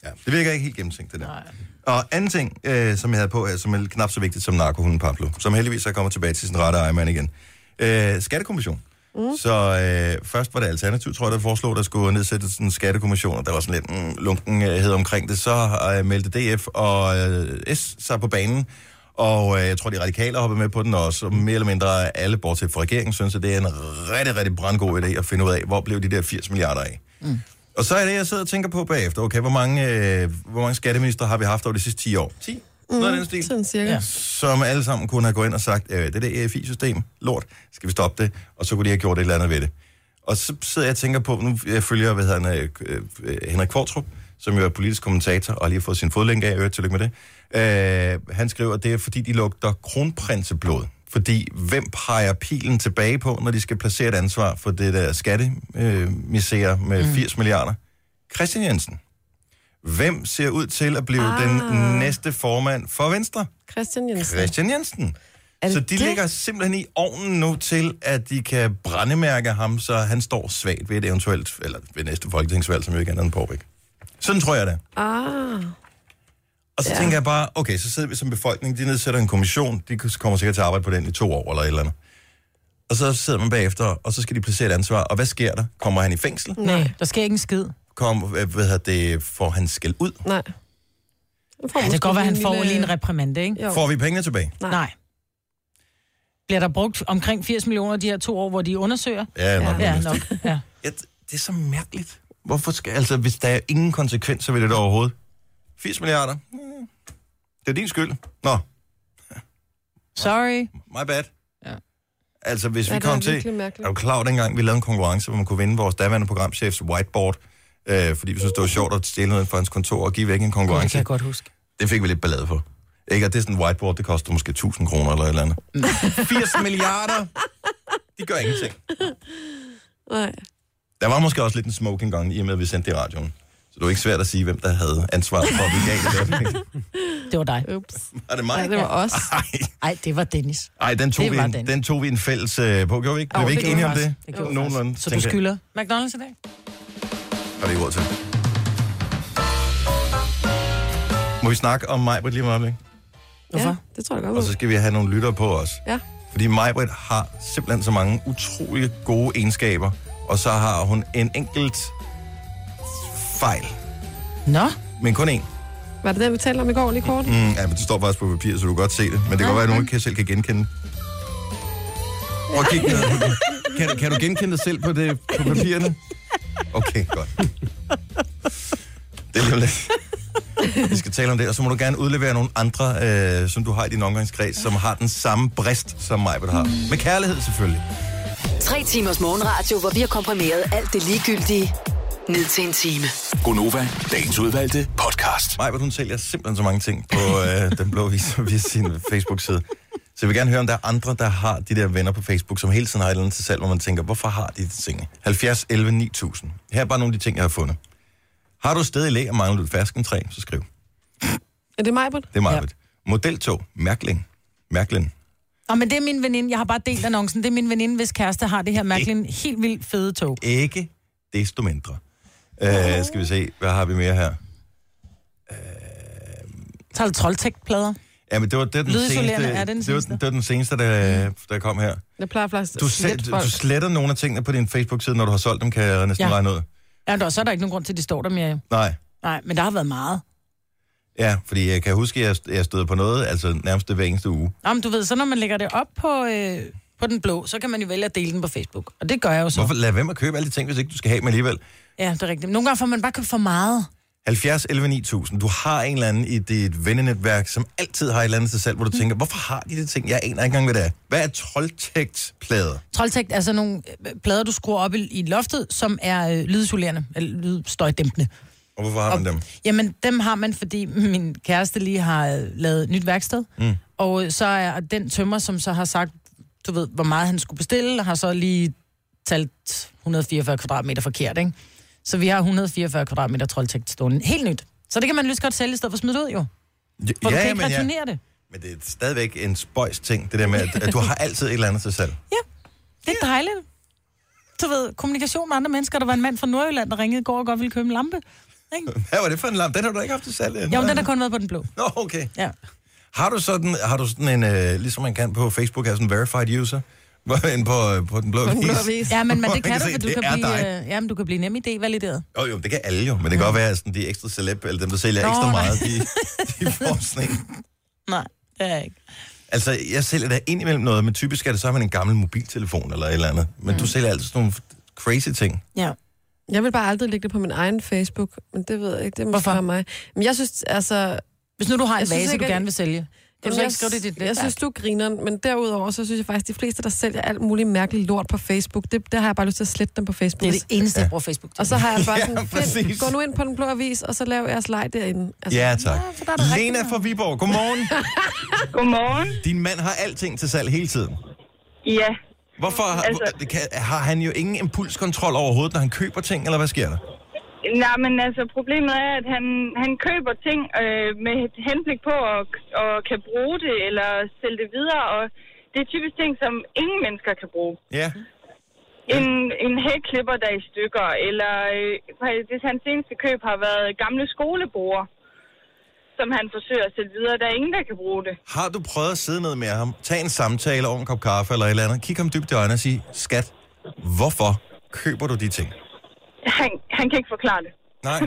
Ja, det virker ikke helt gennemtænkt, det der. Nej. Og anden ting, øh, som jeg havde på her, som er knap så vigtigt som narkohunden Pablo, som heldigvis er kommet tilbage til sin rette ejermand igen. Øh, skattekommission. Mm. Så øh, først var det Alternativ, tror jeg, der foreslog, der skulle nedsættes en skattekommission, og der var sådan lidt mm, lunkenhed omkring det. Så øh, meldte DF og øh, S sig på banen, og øh, jeg tror, de radikale har hoppet med på den også. Og Mere eller mindre alle, bortset fra regeringen, synes, at det er en rigtig, rigtig brandgod idé at finde ud af, hvor blev de der 80 milliarder af. Og så er det, jeg sidder og tænker på bagefter. Okay, hvor mange, øh, hvor mange skatteminister har vi haft over de sidste 10 år? 10? Noget af den stil. Mm, Sådan cirka. Ja. Ja. Som alle sammen kunne have gået ind og sagt, øh, det der EFI-system, lort, skal vi stoppe det? Og så kunne de have gjort et eller andet ved det. Og så sidder jeg og tænker på, nu jeg følger, hvad hedder han, øh, øh, Henrik Kvartrup, som jo er politisk kommentator, og har lige har fået sin fodlænke af, øh, tillykke med det. Øh, han skriver, at det er fordi, de lugter kronprinseblod. Fordi hvem peger pilen tilbage på, når de skal placere et ansvar for det der skattemisere med 80 milliarder? Christian Jensen. Hvem ser ud til at blive ah. den næste formand for Venstre? Christian Jensen. Christian Jensen. Er det Så de det? det? ligger simpelthen i ovnen nu til, at de kan brændemærke ham, så han står svagt ved et eventuelt, eller ved næste folketingsvalg, som jo ikke er andet end Porbæk. Sådan tror jeg det. Ah, Og så ja. tænker jeg bare, okay, så sidder vi som befolkning, de nedsætter en kommission, de kommer sikkert til at arbejde på den i to år eller et eller andet. Og så sidder man bagefter, og så skal de placere et ansvar. Og hvad sker der? Kommer han i fængsel? Mm. Nej, der sker ikke en skid. Kom, hvad hvad hedder det, får han skæld ud? Nej. Han får Ja, det kan måske godt være, en han får lille- lige en reprimande, ikke? Jo. Får vi pengene tilbage? Nej. Nej. Bliver der brugt omkring 80 millioner de her to år, hvor de undersøger? Ja, nok. Ja, mindst. nok. Ja. Ja, det er så mærkeligt. Hvorfor skal, altså, hvis der er ingen konsekvenser ved det der overhovedet? 80 milliarder? Mm. Det er din skyld. Nå, Sorry. my bad. Ja. Altså, hvis Ja, vi det er kom til... virkelig Er mærkeligt. du klar over, dengang vi lavede en konkurrence, hvor man kunne vinde vores daværende programchefs whiteboard, øh, fordi vi synes, det var sjovt at stjæle noget fra hans kontor og give væk en Det konkurrence. kan jeg godt huske. Det fik vi lidt ballade for. Ikke, og det er sådan en whiteboard, det koster måske 1000 kroner eller et eller andet. 80 milliarder! De gør ingenting. Nej. Der var måske også lidt en smoke engang, i og med, at vi sendte det i radioen. Så det var ikke svært at sige, hvem der havde ansvaret for, at vi gav det. der. Det var dig. Ups. Var det Nej, mig? det var os. Ej, Nej, det var Dennis. ej den, tog Det vi var en, den. den tog vi en fælles øh, på, gjorde vi ikke? Jo, Blev vi det ikke gjorde enige vi om det? faktisk. Det gjorde vi Nogenlunde, Så du tænker jeg. skylder McDonald's i dag? Og det er ord til. Må vi snakke om Majbrit lige om et øjeblik? Hvorfor? Ja, det tror jeg godt. Og så skal vi have nogle lyttere på os. Ja. Fordi Majbrit har simpelthen så mange utrolig gode egenskaber, og så har hun en enkelt fejl, Nå, men kun én. Var det den, vi talte om i går lige kort? Mm, ja, men det står faktisk på papir, så du kan godt se det. Men det kan godt være, at nogen kan selv kan genkende. Og kig ned. Kan, du- kan du genkende dig selv på, det, på papirerne? Okay, godt. Det er lige om lidt. Vi skal tale om det, og så må du gerne udlevere nogle andre, øh, som du har i din omgangskreds, som har den samme brist, som mig har. Med kærlighed selvfølgelig. Tre timers morgenradio, hvor vi har komprimeret alt det ligegyldige ned til en time. Gonova, dagens udvalgte podcast. Maja, hun sælger simpelthen så mange ting på øh, den blå vis via sin Facebook-side. Så jeg vil gerne høre, om der er andre, der har de der venner på Facebook, som hele tiden har et eller andet til salg, hvor man tænker, hvorfor har de de ting? 70, 11, 9000. Her er bare nogle af de ting, jeg har fundet. Har du stadig læg og mangler du et ferskentræ, så skriv. Er det mig, Britt? Det er meget ja. Modeltog, Mærkling. Mærkling. Og men det er min veninde, jeg har bare delt annoncen, det er min veninde, hvis kæreste har det her mærkeligt helt vildt fede tog. Ikke desto mindre. Øh, skal vi se, hvad har vi mere her? Så er det troldtægtplader. Ja, men det var, det var den Lydisolerende, seneste, er det den det var, seneste? det var den seneste der, der kom her. Jeg plejer faktisk at Du, slette sel, du folk. du sletter nogle af tingene på din Facebook-side, når du har solgt dem, kan jeg næsten ja. Ja. regne ud. Ja, der, så er der ikke nogen grund til, at de står der mere. jo. Nej. Nej, men der har været meget. Ja, fordi jeg kan huske, at jeg, jeg støder på noget, altså nærmest hver eneste uge. Nå, men du ved, så når man lægger det op på, øh, på den blå, så kan man jo vælge at dele den på Facebook. Og det gør jeg jo så. Hvorfor lad være med at købe alle de ting, hvis ikke du skal have dem alligevel? Ja, det er rigtigt. Nogle gange får man bare købt for meget. 70 11 9000. Du har en eller anden i dit vennenetværk, som altid har et eller andet til salg, Mm. hvor du tænker, hvorfor har de de ting? Jeg aner ikke engang, hvad det er. Hvad er troldtægtsplader? Troldtægt er sådan nogle øh, plader, du skruer op i, i loftet, som er øh, lydisolerende, eller lydstøjdæmpende. Og hvorfor har man dem? Jamen, dem har man, fordi min kæreste lige har øh, lavet nyt værksted. Mm. Og øh, så er den tømmer, som så har sagt, du ved, hvor meget han skulle bestille, har så lige talt 144 kvadratmeter forkert, ikke? Så vi har 144 kvadratmeter troldtægt stående. Helt nyt. Så det kan man lyst godt sælge, i stedet for at smide det ud, jo. For ja, du kan ikke men, returnere det. men det er stadigvæk en spøjs ting, det der med, at, at du har altid et eller andet til salg. Det er dejligt. Du ved, kommunikation med andre mennesker. Der var en mand fra Nordjylland, der ringede i går og godt ville købe en lampe. Ikke? Hvad var det for en lamp? Den har du da ikke haft til salg. endnu. Jo, men den har kun været på den blå. Nå, okay. Ja. Har du sådan, har du sådan en, øh, ligesom man kan på Facebook, have sådan en verified user? Hvor- Inde på, øh, på den blå den blå vis. vis. Ja, men, men Hvor det kan man du, se, for du det kan, er blive, dig. øh, ja, men du kan blive nem idé valideret. Jo, jo, det kan alle jo, men det kan godt være, at sådan, de ekstra celeb, eller dem, der sælger Nå, ekstra nej. meget, de, de får sådan en. Nej, det er jeg ikke. Altså, jeg sælger da indimellem noget, men typisk er det så, at man en gammel mobiltelefon eller et eller andet. Men mm. du sælger altid sådan nogle crazy ting. Ja. Jeg vil bare aldrig lægge det på min egen Facebook, men det ved jeg ikke. Det er måske Hvorfor? bare mig. Men jeg synes, altså... Hvis nu du har en Jeg synes vase, ikke, du at- gerne vil sælge, kan du så jeg, ikke skrive det i dit jeg netværk? synes, du griner, men derudover, så synes jeg faktisk, at de fleste, der sælger alt muligt mærkeligt lort på Facebook, det, der har jeg bare lyst til at slette dem på Facebook. det er det eneste, jeg bruger Facebook til. Og så har jeg bare sådan, Ja, præcis. ja, gå nu ind på den blå avis, og så lav jeres leg derinde. Altså, Ja, tak. så der er der Lena rigtig fra Viborg, godmorgen. Godmorgen. Din mand har alting til salg hele tiden. Ja, Hvorfor har, Altså- hvor- kan, har han jo ingen impulskontrol overhovedet, når han køber ting, eller hvad sker der? nej, men altså problemet er, at han, han køber ting øh, med et henblik på at, at kan bruge det eller sælge det videre, og det er typisk ting, som ingen mennesker kan bruge. Ja. En, en hækklipper, der er i stykker, eller øh, hvis hans seneste køb har været gamle skolebord, som han forsøger at sælge videre. Der er ingen, der kan bruge det. Har du prøvet at sidde ned med ham, tage en samtale over en kop kaffe eller et eller andet, kig ham dybt i øjnene og sige, skat, hvorfor køber du de ting? Han, han kan ikke forklare det. Nej.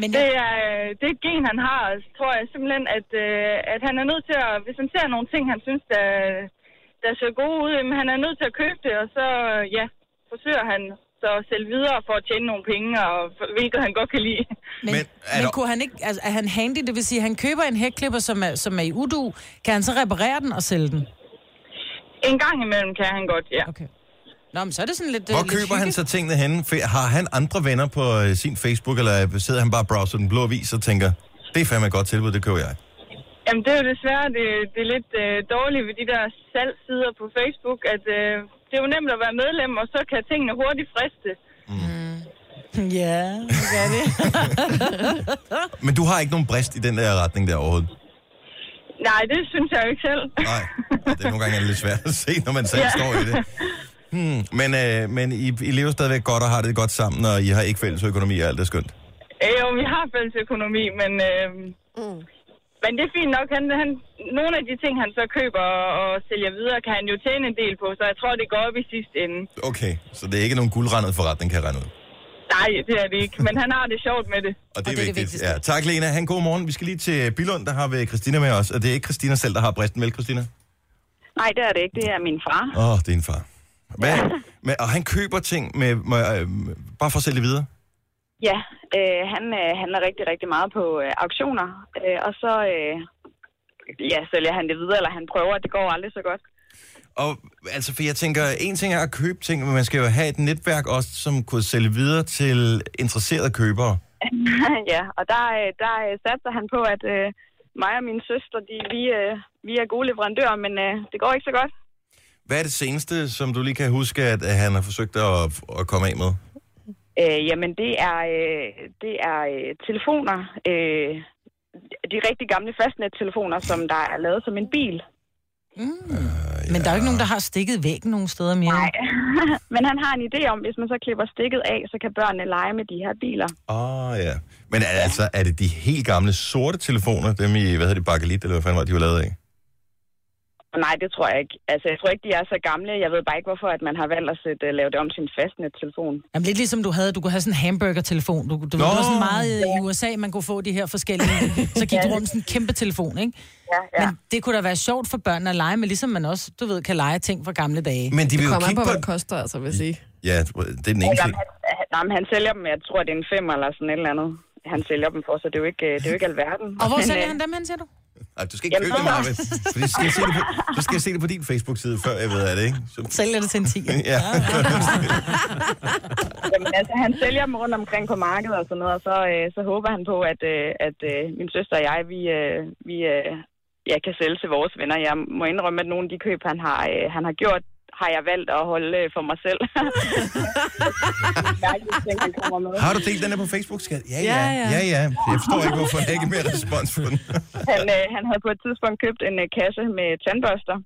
Men Det jeg, er, øh, det er et gen, han har, tror jeg simpelthen, at, øh, at han er nødt til at, hvis han ser nogle ting, han synes, der, der ser gode ud, jamen, han er nødt til at købe det, og så, øh, ja, forsøger han så at sælge videre for at tjene nogle penge, og for, hvilket han godt kan lide. men, Men men, er men der- kunne han ikke, altså, er han handy, det vil sige, at han køber en hækklipper, som er, som er i udu, kan han så reparere den og sælge den? En gang imellem kan han godt, ja. Okay. Nå, men så er det sådan lidt Hvor øh, lidt køber han hygge. så tingene henne? Fe- Har han andre venner på øh, sin Facebook, eller sidder han bare og browser den blå avis og tænker, det er fandme et godt tilbud, det køber jeg. Jamen, det er jo desværre det, det er lidt øh, dårligt ved de der salgsider på Facebook, at øh, det er jo nemt at være medlem, og så kan tingene hurtigt friste. Ja, det er det. Men du har ikke nogen brist i den der retning der overhovedet? Nej, det synes jeg jo ikke selv. Nej, og det er nogle gange er det lidt svært at se, når man selv ja. Ja. står i det. Hmm. Men, øh, men I, I lever stadigvæk godt og har det godt sammen, og I har ikke fælles økonomi og alt er skønt. Øh, Jo, vi har fælles økonomi, men, øh, Mm. men det er fint nok. Han, han, nogle af de ting, han så køber og, og sælger videre, kan han jo tjene en del på, så jeg tror, det går op i sidste ende. Okay, så det er ikke nogen guldrendet forretning, kan jeg regne ud. Nej, det er det ikke, men han har det sjovt med det. Og det er, og det er vigtigt. Det vigtigste. Ja, tak, Lena. Han god morgen. Vi skal lige til Bilund, der har vi Christina med os. Og det er ikke Christina selv, der har bristen. Vel, Christina? Nej, det er det ikke. Det er min far. Åh, oh, det er en far. Hvad? Men, og han køber ting med, med, øh, bare for at sælge det videre. Ja, øh, han øh, handler rigtig, rigtig meget på øh, auktioner, øh, og så øh, ja, sælger han det videre, eller han prøver, at det går aldrig så godt. Og altså, for jeg tænker, en ting er at købe ting, men man skal jo have et netværk også, som kunne sælge videre til interesserede købere. ja, og der, øh, der øh, satser han på, at øh, mig og min søster, de, vi, øh, vi er gode leverandører, men øh, det går ikke så godt. Hvad er det seneste, som du lige kan huske, at, at han har forsøgt at, at komme af med? Øh, jamen, det er, øh, det er øh, telefoner. Øh, de rigtig gamle fastnettelefoner, som der er lavet som en bil. Mm. Men der er jo ikke nogen, der har stikket væggen nogen steder mere. Nej. Men han har en idé om, hvis man så klipper stikket af, så kan børnene lege med de her biler. Åh, oh, ja. Men er- altså, er det de helt gamle sorte telefoner, dem i, hvad hedder det, Bakelit, eller hvad fanden var det, de var lavet af? Nej, det tror jeg ikke. Altså, jeg tror ikke, de er så gamle. Jeg ved bare ikke, hvorfor at man har valgt at sætte, uh, lave det om til en fastnettelefon. Jamen, lidt ligesom du havde, du kunne have sådan en hamburger-telefon. Du, du, du var sådan meget øh, i USA, man kunne få de her forskellige. Så gik du rundt med sådan en kæmpe telefon, ikke? Ja, ja. Men det kunne da være sjovt for børnene at lege med, ligesom man også, du ved, kan lege ting fra gamle dage. Men de vil jo Kommer an kigge på, på... hvad det koster, altså, vil jeg sige. Ja, det er den ene ting. Jamen, han, han- nej, men han sælger dem, jeg tror, det er en fem eller sådan et eller andet. Han sælger dem for, så det er jo ikke, øh, det er jo ikke alverden. Og hvor Men, sælger øh, han dem hen, siger du? Ej, du skal ikke Jamen, købe det, så- Marvind. For det skal jeg se det på, så skal jeg se det på din Facebook-side, før jeg ved af det, ikke? Så, Sælger det til en Ah, 10. ja. Jamen, altså, han sælger dem rundt omkring på markedet og sådan noget, og så, øh, så håber han på, at, øh, at øh, min søster og jeg, vi, øh, vi øh, ja, kan sælge til vores venner. Jeg må indrømme, at nogle af de køb, han har, øh, han har gjort, har jeg valgt at holde øh, for mig selv. Jeg tænker, han kommer med. Har du delt den her på Facebook, skat? Ja, ja, Ja, ja. ja. ja, ja. Jeg forstår ikke, hvorfor jeg ikke er mere respons på den. Han, øh, han havde på et tidspunkt købt en øh, kasse med tandbørster.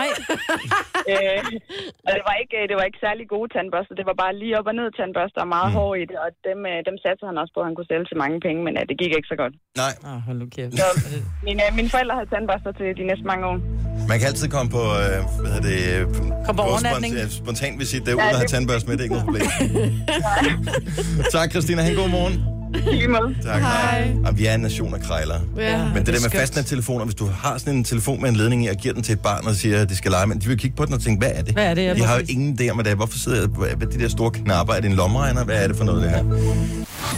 Nej, Øh, og det var, ikke, øh, det var ikke særlig gode tandbørster. Det var bare lige op og ned tandbørster og meget mm. hård i det. Og dem, øh, dem satte han også på, at han kunne sælge til mange penge, men øh, det gik ikke så godt. Nej, oh, hold nu kæft. Så mine, øh, mine forældre havde tandbørster til de næste mange år. man kan altid komme på, øh, hvad hedder det... øh, Kom på overnatning. Spont, øh, spontan visit derude, der har tandbørst med, det er ikke noget problem. tak, Christina. Ha' en god morgen. I lige måde. Tak. Hej. Og vi er en nation af krejlere. Ja. Men det, det der med skønt. fastnettelefoner, hvis du har sådan en telefon med en ledning i, og giver den til et barn og siger, at de skal lege, men de vil kigge på den og tænke, hvad er det? Hvad er det, ja, Jeg har jo præcis. ingen idé om, hvad det er. Hvorfor sidder jeg hvad- hvad de der store knapper? Er det en lommeregner? Hvad er det for noget, det her?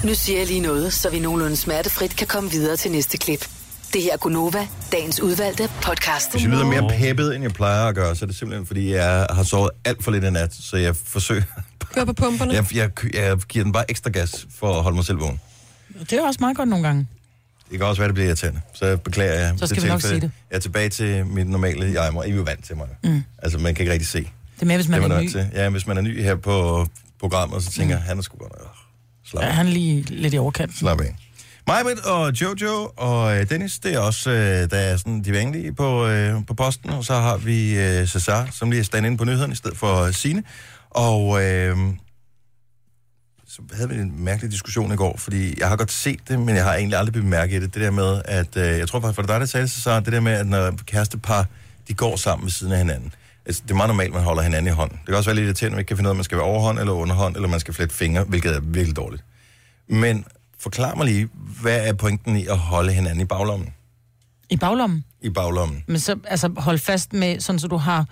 Nu siger jeg lige noget, så vi nogenlunde smertefrit kan komme videre til næste klip. Det her er Gunova, dagens udvalgte podcast. Hvis jeg lyder mere peppet, end jeg plejer at gøre, så er det simpelthen, fordi jeg har sovet alt for lidt i nat, så jeg forsøger... Kør på pumperne. Jeg, jeg, jeg giver den bare ekstra gas for at holde mig selv vågen. Det er også meget godt nogle gange. Det kan også være, det bliver irriterende. Så beklager jeg. Så skal det vi nok tilfælde. sige det. Jeg er tilbage til mit normale jeg, og I er jo vant til mig. Mm. Altså, man kan ikke rigtig se. Det er mere, hvis man det er man ny. til. Ja, hvis man er ny her på programmet, så tænker jeg, han er sgu godt nok... åh, Slap, Ja, af, han er lige lidt i overkant. slap af. Majbrit og Jojo og øh, Dennis, det er også, øh, der er sådan de vanlige på, øh, på posten. Og så har vi øh, Cesar, som lige er stand inde på nyhederne i stedet for Sine. Og øh, så havde vi en mærkelig diskussion i går, fordi jeg har godt set det, men jeg har egentlig aldrig bemærket det. Det der med, at øh, jeg tror faktisk, var det dig, der sagde det, så det der med, at når kærestepar, de går sammen ved siden af hinanden. Altså, det er meget normalt, man holder hinanden i hånden. Det kan også være lidt irriterende, at man ikke kan finde ud af, om man skal være overhånd eller underhånd, eller man skal flette fingre, hvilket er virkelig dårligt. Men forklar mig lige, hvad er pointen i at holde hinanden i baglommen? I baglommen. I baglommen. Men så altså, hold fast med, sådan så du har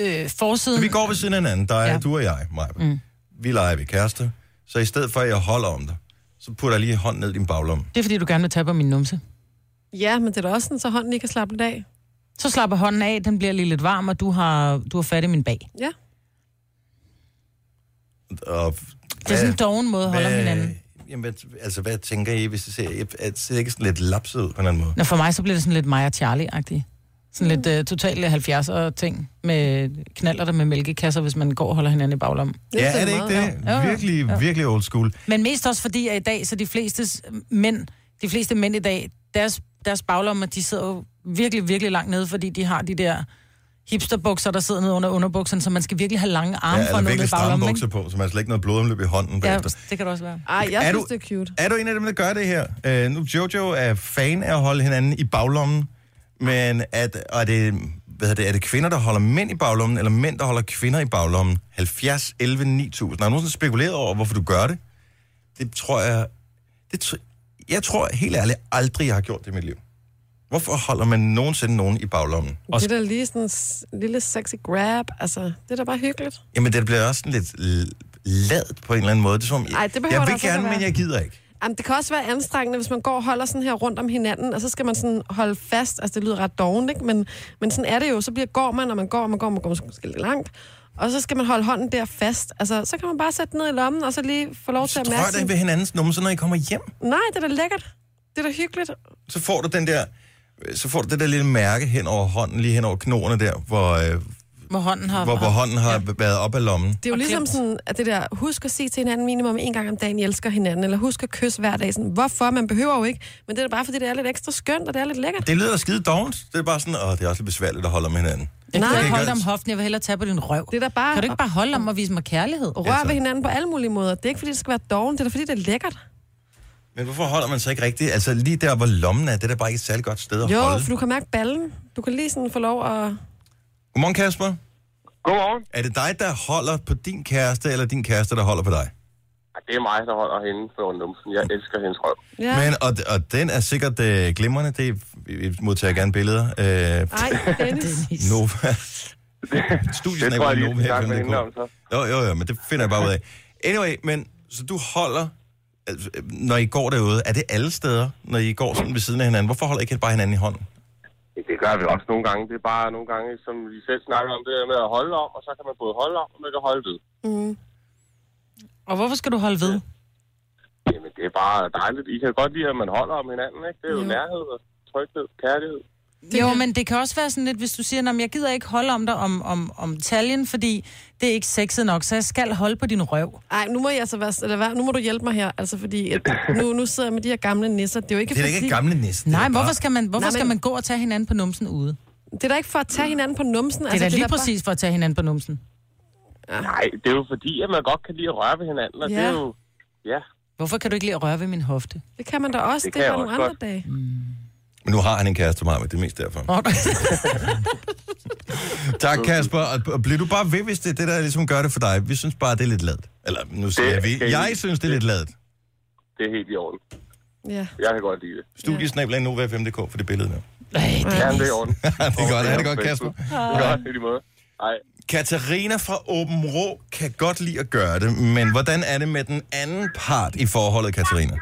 øh, forsiden. Så vi går ved siden af hinanden, der er ja. Ja. du og jeg, Maja. Mm. Vi leger ved kærester, så i stedet for, at jeg holder om dig, så putter jeg lige hånden ned i din baglomme. Det er fordi, du gerne vil tage på min numse. Ja, men det er da også sådan, så hånden ikke kan slappe lidt af. Så slapper hånden af, den bliver lige lidt varm, og du har, du har fat i min bag. Ja. Og, Det er sådan en doven måde at holde om hinanden. Jamen, hvad- altså, hvad tænker I, hvis I ser, jeg, jeg ser ikke sådan lidt lapset ud på en eller anden måde? Nå, for mig så bliver det sådan lidt mig og Charlie-agtigt. Sådan Mm. lidt uh, totalt 70'er ting med knaller der med mælkekasser, hvis man går og holder hinanden i baglommen. Ja, synes er jeg det meget, ikke det? Jo, jo, Virkelig, virkelig old school. Men mest også fordi, at i dag, så de fleste s- mænd, de fleste mænd i dag, deres, deres baglommer, de sidder jo virkelig, virkelig langt nede, fordi de har de der hipsterbukser, der sidder nede under underbukserne, så man skal virkelig have lange arme Ja, ja, for eller at nå ned i virkelig stramme baglommen. bukser ikke? på, så man har slet ikke noget blodomløb i hånden Ja, bagefter. det kan det også være. Ej, jeg Er synes, du- det er cute. Er du en af dem, der gør det her? Øh, nu, Jojo er fan af at holde hinanden i baglommen, men at, og er, det, hvad hedder det, er det kvinder, der holder mænd i baglommen, eller mænd, der holder kvinder i baglommen? 70, 11, 9000. Har du nogensinde spekuleret over, hvorfor du gør det? Det tror jeg... Det tr- jeg tror helt ærligt aldrig, jeg har gjort det i mit liv. Hvorfor holder man nogensinde nogen i baglommen? Også- Det er da lige sådan en s- lille sexy grab. Altså, det er da bare hyggeligt. Jamen, det bliver også sådan lidt l- ladet på en eller anden måde. Det er, som, om, Ej, det behøver jeg der vil altså ikke gerne, at være. men jeg gider ikke. Jamen, det kan også være anstrengende, hvis man går og holder sådan her rundt om hinanden, og så skal man sådan holde fast. Altså, det lyder ret dovent, ikke? Men, men sådan er det jo. Så bliver, går man, og man går, og man går, og man går måske lidt langt. Og så skal man holde hånden der fast. Altså, så kan man bare sætte den ned i lommen, og så lige få lov til at Tror mærke dig sin... ved hinandens numse, når I kommer hjem? Nej, det er da lækkert. Det er da hyggeligt. så får du den der, så får du det der lille mærke hen over hånden, lige hen over knoerne der, hvor, øh, Hvor hånden har... hvor, hvor hånden har været op af lommen. Det er jo Og ligesom klemt. sådan, at det der, husk at sige til hinanden minimum en gang om dagen, I elsker hinanden, eller husk at kysse hver dag. Sådan, hvorfor? Man behøver jo ikke. Men det er da bare, fordi det er lidt ekstra skønt, og det er lidt lækkert. Det lyder da skide dovent. Det er bare sådan, åh, det er også lidt besværligt at holde om hinanden. Jeg Nej. kan ikke holde Det dig kan- om hoften, jeg vil hellere tage på din røv. Det er da bare- Kan du ikke bare holde om og vise mig kærlighed? Rør ved hinanden på alle mulige måder. Det er ikke, fordi det skal være doven, det er da, fordi det er lækkert. Men hvorfor holder man så ikke rigtigt? Altså lige der, hvor lommen er, det er da bare ikke et særligt godt sted at Jo, holde. for du kan mærke ballen. Du kan lige sådan få lov at... Godmorgen, Kasper. Godmorgen. Er det dig, der holder på din kæreste, eller din kæreste, der holder på dig? Ja, det er mig, der holder hende på numsen. Jeg elsker hendes røv. Ja. Ja. Men, og, og den er sikkert øh, glimrende. Det vi modtager gerne billeder. Øh, Ej, Dennis. Nova. Studiet Det tror jeg lige, vi snakker med hende om så. Jo, jo, jo, men det finder jeg bare ud af. Anyway, men så du holder, altså, øh, når I går derude, er det alle steder, når I går sådan ved siden af hinanden? Hvorfor holder I ikke bare hinanden i hånden? Ja, Det gør vi også nogle gange. Det er bare nogle gange, som vi selv snakker om, det der med at holde om, og så kan man både holde om, og man kan holde ved. Mm. Og hvorfor skal du holde ved? Jamen, det er bare dejligt. I kan godt lide, at man holder om hinanden, ikke? Det er jo nærhed og tryghed, kærlighed. Jo, men det kan også være sådan lidt, hvis du siger, at jeg gider ikke holde om dig om, om, om taljen, fordi det er ikke sexet nok, så jeg skal holde på din røv. Ej, nu må jeg altså være... Eller hvad? Nu må du hjælpe mig her, altså fordi... At nu, nu sidder jeg med de her gamle nisser. Det er jo ikke, Det er da fordi, ikke gamle næsten. Nej, hvorfor skal man, hvorfor Nej, men- skal man gå og tage hinanden på numsen ude? Det Det er da ikke for at tage hinanden på numsen. altså er da det lige bare- præcis for at tage hinanden på numsen. Nej, det er jo fordi, at man godt kan lide at røre ved hinanden, og Ja. ja. det er jo... Ja, Hvorfor kan du ikke lide at røre ved min hofte? Det kan man da også. Det Det, kan det er jeg bare nogle også andre godt. dage. Men nu har han en kæreste, Marvind. Det er mest derfor. Nå, Tak, Kasper. Og- Og bliver du bare ved, hvis det er det, der ligesom gør det for dig? Vi synes bare, det er lidt ladt. Eller nu siger Det jeg, kan vi. I- Jeg synes, det er lidt ladt. det er helt i orden. Ja. Jeg kan godt lide det. Studiesnablagen Nova5.dk for det billede der. Ej, det Ja, er det er i nice. orden. det er godt. Ha' det godt, Kasper. Ja, i lige måde. Ej. Katarina fra Åben Rå kan godt lide at gøre det, men hvordan er det med den anden part i forholdet, Katarina?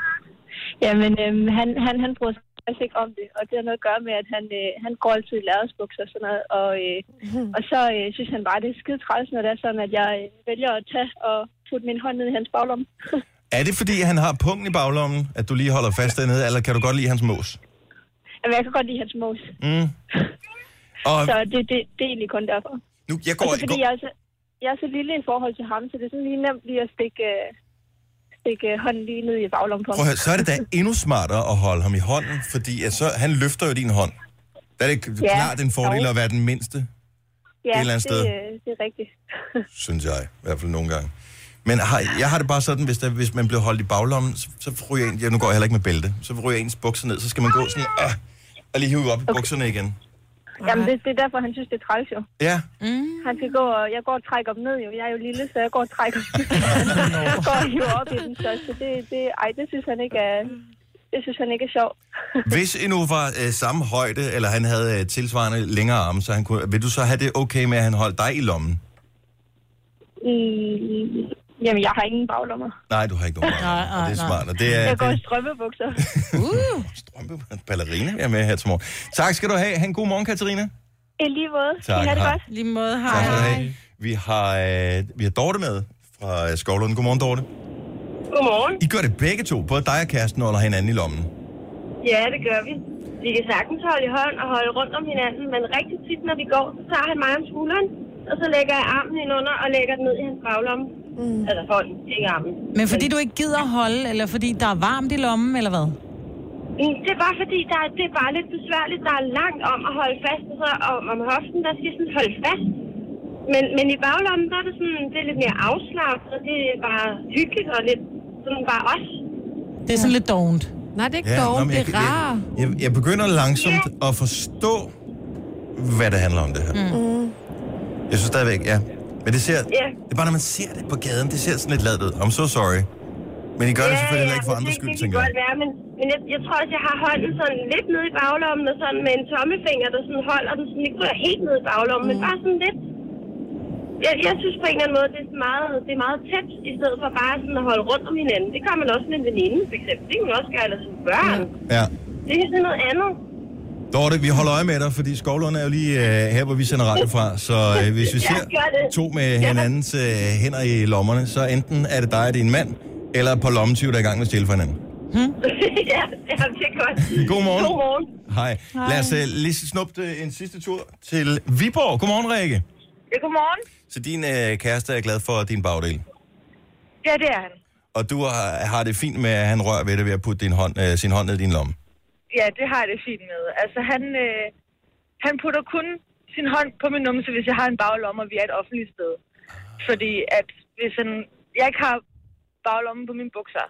Jamen, øhm, han, han, han bryder sig faktisk ikke om det, og det har noget at gøre med, at han, øh, han går altid i lærredsbukser og sådan noget, og, øh, og så øh, synes han bare, det er skide træls, når det er sådan, at jeg øh, vælger at tage og putte min hånd ned i hans baglomme. Er det fordi, han har pungen i baglommen, at du lige holder fast dernede, eller kan du godt lide hans mås? Jamen, jeg kan godt lide hans mos, Mm. Og så det, det, det er egentlig kun derfor. nu, jeg Og går, så jeg fordi går, jeg er, så, jeg er så lille i forhold til ham, så det er sådan lige nemt lige at stikke, øh, stikke øh, hånden lige ned i baglommen på prøv at ham. høre, så er det da endnu smartere at holde ham i hånden, fordi at så, han løfter jo din hånd. Der er det k- Ja, klart en fordel dog. at være den mindste, Ja, et eller andet det, sted. øh, det er rigtigt. synes jeg, i hvert fald nogle gange. Men har, jeg har det bare sådan, hvis, der, hvis man bliver holdt i baglommen, så, så ryger en, ja, nu går jeg heller ikke med bælte, så ryger ens bukser ned, så skal man gå sådan, ah, og lige hive op i bukserne igen. Jamen, det, det er derfor, han synes, det er træls jo. Ja, Mm. Han skal gå, og jeg går og trækker dem ned jo. Jeg er jo lille, så jeg går og trækker dem Jeg går og hiver op i den så, så det, det, ej, det synes han ikke er... Det synes han ikke er sjovt. hvis endnu var øh, samme højde, eller han havde øh, tilsvarende længere arme, så han kunne, vil du så have det okay med, at han holdt dig i lommen? Mm. Jamen, jeg har ingen baglommer. Nej, du har ikke nogen arme, nej, og det er nej. smart, og det er, Ah, jeg det går er i strømmebukser. Uh. en ballerina, jeg er med her til morgen. Tak skal du have. Ha' en god morgen, Katarina. I lige måde. Tak, I har det hej. godt. Lige måde, Tak skal du have. Vi har, øh, vi har Dorte med fra øh, Skovlund. Godmorgen, Dorte. Godmorgen. I gør det begge to, både dig og kæresten, og holder hinanden i lommen. Ja, det gør vi. Vi kan sagtens holde i hånd og holde rundt om hinanden, men rigtig tit, når vi går, så tager han mig om skulderen, og så lægger jeg armen ind under og lægger den ned i hans baglomme. Mm. Altså hånden, ikke armen. Men fordi du ikke gider holde, eller fordi der er varmt i lommen, eller hvad? Mm, Det er bare fordi, der er, det er bare lidt besværligt. Der er langt om at holde fast, og så om, om hoften, der skal jeg sådan holde fast. Men, men i baglommen, der er det sådan, det er lidt mere afslappet, og det er bare hyggeligt og lidt sådan bare os. Det er sådan lidt dovent. Nej, det er ikke Ja, ja, nå, dog. men Det jeg- er rar. Jeg, jeg begynder langsomt at forstå, hvad det handler om det her. Mm. Jeg synes stadigvæk, ja. Men det ser, yeah. Ja. det er bare, når man ser det på gaden, det ser sådan lidt ladt ud. I'm so sorry. Men I gør det selvfølgelig heller ikke for men andres det- skyld, det kan tænker jeg. godt være, men, men jeg, jeg tror også, jeg har hånden sådan lidt nede i baglommen, og sådan med en tommefinger, der sådan holder den sådan, ikke ryger helt nede i baglommen, mm. men bare sådan lidt. Jeg, jeg synes på en eller anden måde, det er, sådan meget, det er meget tæt, i stedet for bare sådan at holde rundt om hinanden. Det kan man også med en veninde, for eksempel. Det kan man også gøre, eller som børn. Ja. Det er sådan noget andet. Dorte, vi holder øje med dig, fordi Skovlund er jo lige øh, her, hvor vi sender radio fra. Så øh, hvis vi Ja, ser gør det. to med hinandens øh, hænder i lommerne, så enten er det dig og din mand, eller på lommetyv, der er i gang med at stjæle for hinanden. Hmm? ja, ja, det er godt. Godmorgen. Godmorgen. Hej. Hej. Lad os øh, lige snuppe øh, en sidste tur til Viborg. Godmorgen, Rikke. Ja, godmorgen. Så din øh, kæreste er glad for din bagdel. Ja, det er han. Og du har, har det fint med, at han rører ved det ved at putte din hånd, øh, sin hånd ned i din lomme. Ja, det har jeg det fint med. Altså, han, øh, han putter kun sin hånd på min numse, hvis jeg har en baglomme, og vi er et offentligt sted. Fordi at hvis han, jeg ikke har baglommen på mine bukser,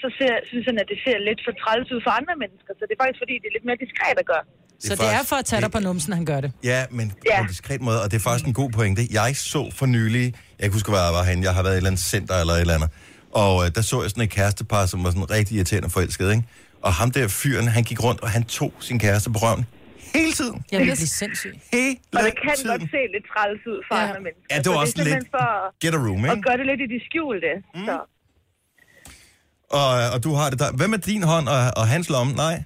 så ser, synes han, at det ser lidt for træls ud for andre mennesker. Så det er faktisk fordi, det er lidt mere diskret at gøre. er Så det er faktisk- for at tage dig på numsen, han gør det. Ja, men ja. på en diskret måde, og det er faktisk en god pointe. Jeg så for nylig, jeg kan huske, hvor jeg var henne, jeg har været i et eller andet center eller et eller andet, og øh, der så jeg sådan et kærestepar, som var sådan rigtig irriterende forelsket, ikke? Og ham der fyren, han gik rundt, og han tog sin kæreste på røven. Hele tiden. Jamen, det er sindssygt. Hele Og det kan godt se lidt træls ud for ja. andre mennesker. Ja, det Så var Altså, også er simpelthen lidt for get a room, at ikke? gøre det lidt i det skjulte. Mm. Så. Og, øh, og du har det der. Hvem er din hånd og, og hans lomme? Nej?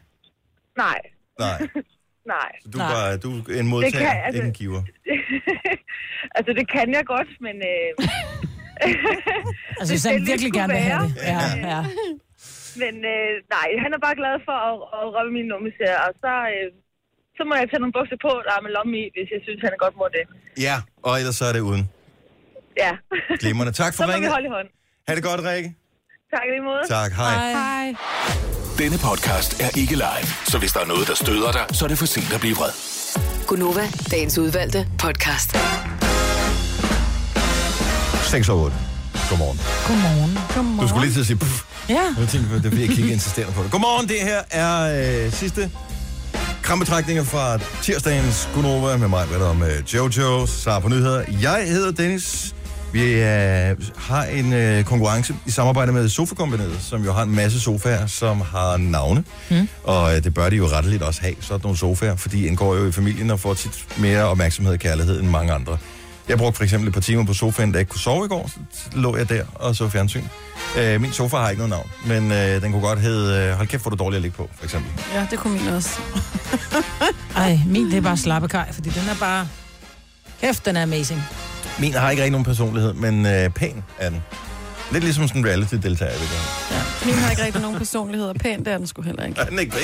Nej, Nej. nej. Du, er bare, du er en Det modtager, kan- kan, altså... altså- ikke en giver. altså, det kan jeg godt, men... Øh... Altså, hvis han det virkelig skulle gerne vil have være. det. Ja, ja. Men øh, nej, han er bare glad for at, at røve min numse, og så, øh, så må jeg tage nogle bukser på, der er med lomme i, hvis jeg synes, han godt må det. Ja, og ellers så er det uden. Ja. Glimrende. Tak så for må vi ringet. holde i hånd. Ha' det godt, Rikke. Tak i lige måde. Tak, hej. Hej. Denne podcast er ikke live, så hvis der er noget, der støder dig, så er det for sent at blive vred. Gunova, dagens udvalgte podcast. 6 og 8. Godmorgen. Godmorgen. Godmorgen. Du skulle lige til at sige, puff. Ja. Jeg tænkte, det er fordi, jeg kiggede insisterende på det. Godmorgen, det her er øh, sidste krampetrækninger fra tirsdagens Gunova med mig, hvad der med Jojo, Sara på nyheder. Jeg hedder Dennis. Vi øh, har en øh, konkurrence i samarbejde med Sofakombineret, som jo har en masse sofaer, som har navne. Mm. Og øh, det bør de jo retteligt også have, sådan nogle sofaer, for de indgår jo i familien og får tit mere opmærksomhed og kærlighed end mange andre. Jeg brugte for eksempel et par timer på sofaen, da jeg ikke kunne sove i går, så lå jeg der og så fjernsyn. Øh, min sofa har ikke noget navn, men øh, den kunne godt hedde, øh, hold kæft, hvor er du dårlig at ligge på, for eksempel. Ja, det kunne min også. Ej, min det er bare slappekaj, fordi den er bare... Kæft, den er amazing. Min har ikke rigtig nogen personlighed, men øh, pæn er den. Lidt ligesom sådan en reality-deltager, det gør. Min har ikke rigtig nogen personlighed, og pænt er den sgu heller ikke. Er den ikke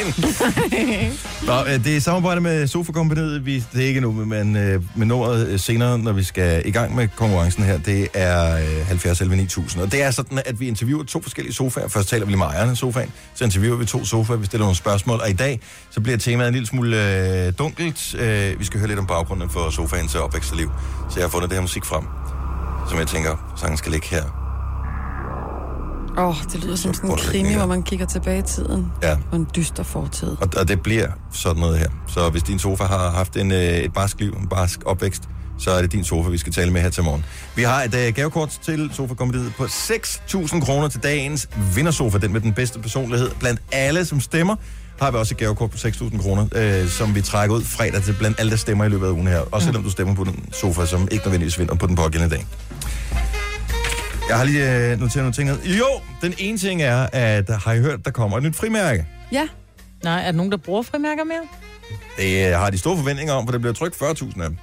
pæn? Nå, øh, det er samarbejde med Sofakompaniet. Vi, det er ikke nu, men øh, med nummeret øh, senere, når vi skal i gang med konkurrencen her, det er øh, 70 11 9000. Og det er sådan, at vi interviewer to forskellige sofaer. Først taler vi lige med ejeren af sofaen, så interviewer vi to sofaer, vi stiller nogle spørgsmål. Og i dag, så bliver temaet en lille smule øh, dunkelt. Øh, vi skal høre lidt om baggrunden for sofaens opvækst og liv. Så jeg har fundet det her musik frem, som jeg tænker, sangen skal ligge her. Åh, oh, det lyder som sådan en krimi, hvor man kigger tilbage i tiden. Ja. Og en dyster fortid. Og, og det bliver sådan noget her. Så hvis din sofa har haft en, øh, et barsk liv, en barsk opvækst, så er det din sofa, vi skal tale med her til morgen. Vi har et øh, gavekort til sofa på 6.000 kroner til dagens vindersofa, den med den bedste personlighed. Blandt alle, som stemmer, har vi også et gavekort på 6.000 kroner, øh, som vi trækker ud fredag til blandt alle, der stemmer i løbet af ugen her. Også selvom du stemmer på den sofa, som ikke nødvendigvis vinder på den pågældende dag. Jeg har lige øh, noteret nogle ting ned. Jo, den ene ting er, at har I hørt, der kommer et nyt frimærke? Ja. Nej, er der nogen, der bruger frimærker mere? Det øh, har de store forventninger om, for det bliver trykt 40.000 af dem.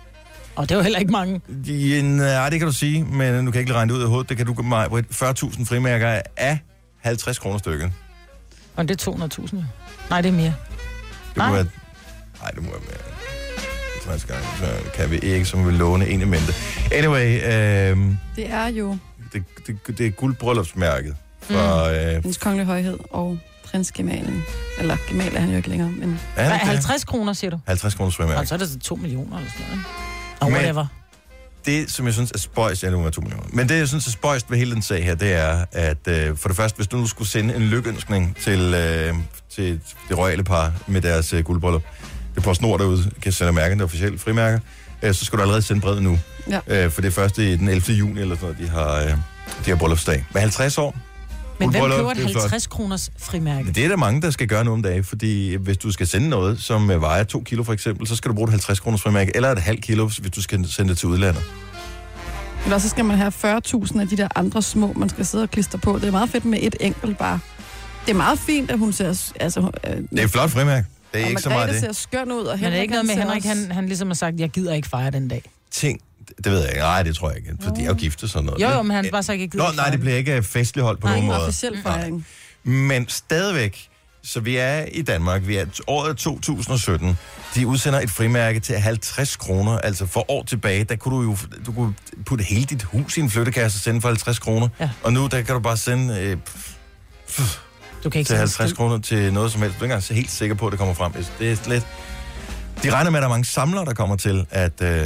Og det er jo heller ikke mange. Ja, nej, det kan du sige, men nu kan jeg ikke lige regne det ud af hovedet. Det kan du gøre mig. Britt. 40.000 frimærker af 50 kroner stykket. Og det er 200.000. jo. Nej, det er mere. Det må være... Nej, det må være mere. 50 gange, så kan vi ikke, som vil låne en i mente. Anyway, øh, Det er jo det, det, det er guldbryllupsmærket fra... Mm. Øh, hendes kongelige højhed og prinsgemalen. Eller gemal er han jo ikke længere, men... Er han ikke det? 50 kroner, siger du? 50 kroner frimærke. Og så er det 2 millioner eller sådan noget. ikke? Men- Og whatever. det, som jeg synes er spøjst, jeg nu er to millioner, men det, jeg synes er spøjst ved hele den sag her, det er, at øh, for det første, hvis du nu skulle sende en lykønskning til, øh, til det royale par med deres øh, guldbryllup, det på snor derude, kan sende mærken, det er officielle frimærker, øh, så skal du allerede sende brevet nu. Ja. Øh, for det er først i den 11. juni, eller sådan noget, de har, øh, de har bryllupsdag. Med 50 år. Men hvem guldbryllup, køber et det er flot. 50 kroners frimærke? Men Det er der mange, der skal gøre nogle dage, fordi hvis du skal sende noget, som øh, vejer 2 kilo for eksempel, så skal du bruge et 50 kroners frimærke, eller et halvt kilo, hvis du skal sende det til udlandet. Eller så skal man have 40.000 af de der andre små, man skal sidde og klistre på. Det er meget fedt med et enkelt bare. Det er meget fint, at hun ser... Altså, øh, Det er et flot frimærke. Det er ikke så meget det. ser skøn ud, og Men er det Henrik, ikke noget med, han ser Henrik han, han ligesom har sagt, jeg gider ikke fejre den dag? ting, det ved jeg ikke. Nej, det tror jeg ikke, for de er jo gift og sådan noget. Jo, jo, men han bare så ikke jeg gider Nå, ikke nej, fejre det den. Mm. bliver ikke øh, festligt holdt på Nej, nogen ingen måde. officiel fejring. Men stadigvæk, så vi er i Danmark, vi er t- året 2017, de udsender et frimærke til 50 kroner, altså for år tilbage, der kunne du jo du kunne putte hele dit hus i en flyttekasse og sende for 50 kroner, ja. og nu der kan du bare sende øh, pff, pff, du kan ikke til sende 50 skid. kroner til noget som helst. Du er ikke engang så helt sikker på, at det kommer frem. Det er slet... De regner med, at der er mange samlere, der kommer til at, øh,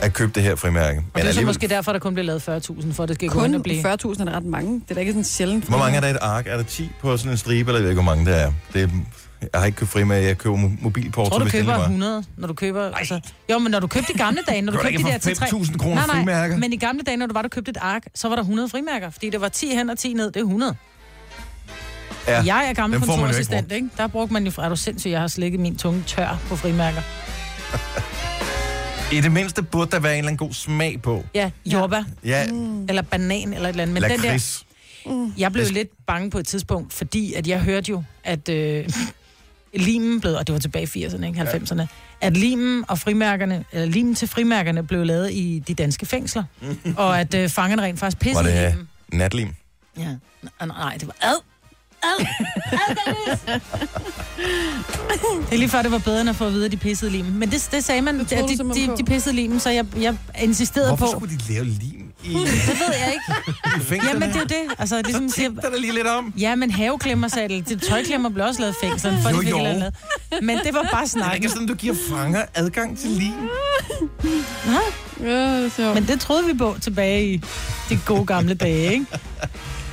at købe det her frimærke. Og Men det er så alligevel- måske derfor, der kun bliver lavet 40.000, for at det skal gå Kun ind og blive. 40.000 er da ret mange. Det er da ikke sådan sjældent. Hvor mange er der i et ark? Er der 10 på sådan en stribe, eller jeg ved ikke, hvor mange der er? Det er jeg har ikke købt frimærke, jeg køber mo- mobilporto, Tror du hvis det køber endelig var. 100, når du køber... Altså, jo, men når du købte i gamle dage, når du Kan du købte ikke de der få til 3... 5.000 kroner nej, nej, frimærker? men i gamle dage, når du var, der købte et ark, så var der 100 frimærker, fordi det var 10 hen og 10 ned, det er 100. Ja, jeg er gammel dem får man jo ikke kontorassistent, ikke? Der brugte man jo... Er du sindssyg, jeg har slikket min tunge tør på frimærker. brugt. I det mindste burde der være en eller anden god smag på. Ja, jordbær. Ja. Mm. Eller banan, eller et eller andet. Men den der, Lakrids. Mm. Jeg blev lidt bange på et tidspunkt, fordi at jeg hørte jo, at øh, limen blev, og det var tilbage i 80'erne, ikke? 90'erne, ja. at limen og frimærkerne, eller limen til frimærkerne blev lavet i de danske fængsler, og at øh, fangerne rent faktisk Var pissede i det dem. øh, natlim? Ja. Nej, nej, det var ad. Ad. Ad, Dennis. det er lige før, det var bedre, end at få at vide, at de pissede i limen. Men det, det sagde man, at de, de, de pissede i limen, så jeg, jeg insisterede Hvorfor på... skulle de lave lim i, Det ved jeg ikke. i fængslerne? Jamen, det er jo det. Altså, det er sådan, siger, der lige lidt om. Ja, men haveklemmer, sagde det. det. Tøjklemmer blev også lavet i fængslet, for Jo, jo, de fik jo. et eller andet. Men det var bare Det er snak. ikke sådan, du giver fanger adgang til lim. Nej. men det troede vi på tilbage i de gode gamle dage, ikke?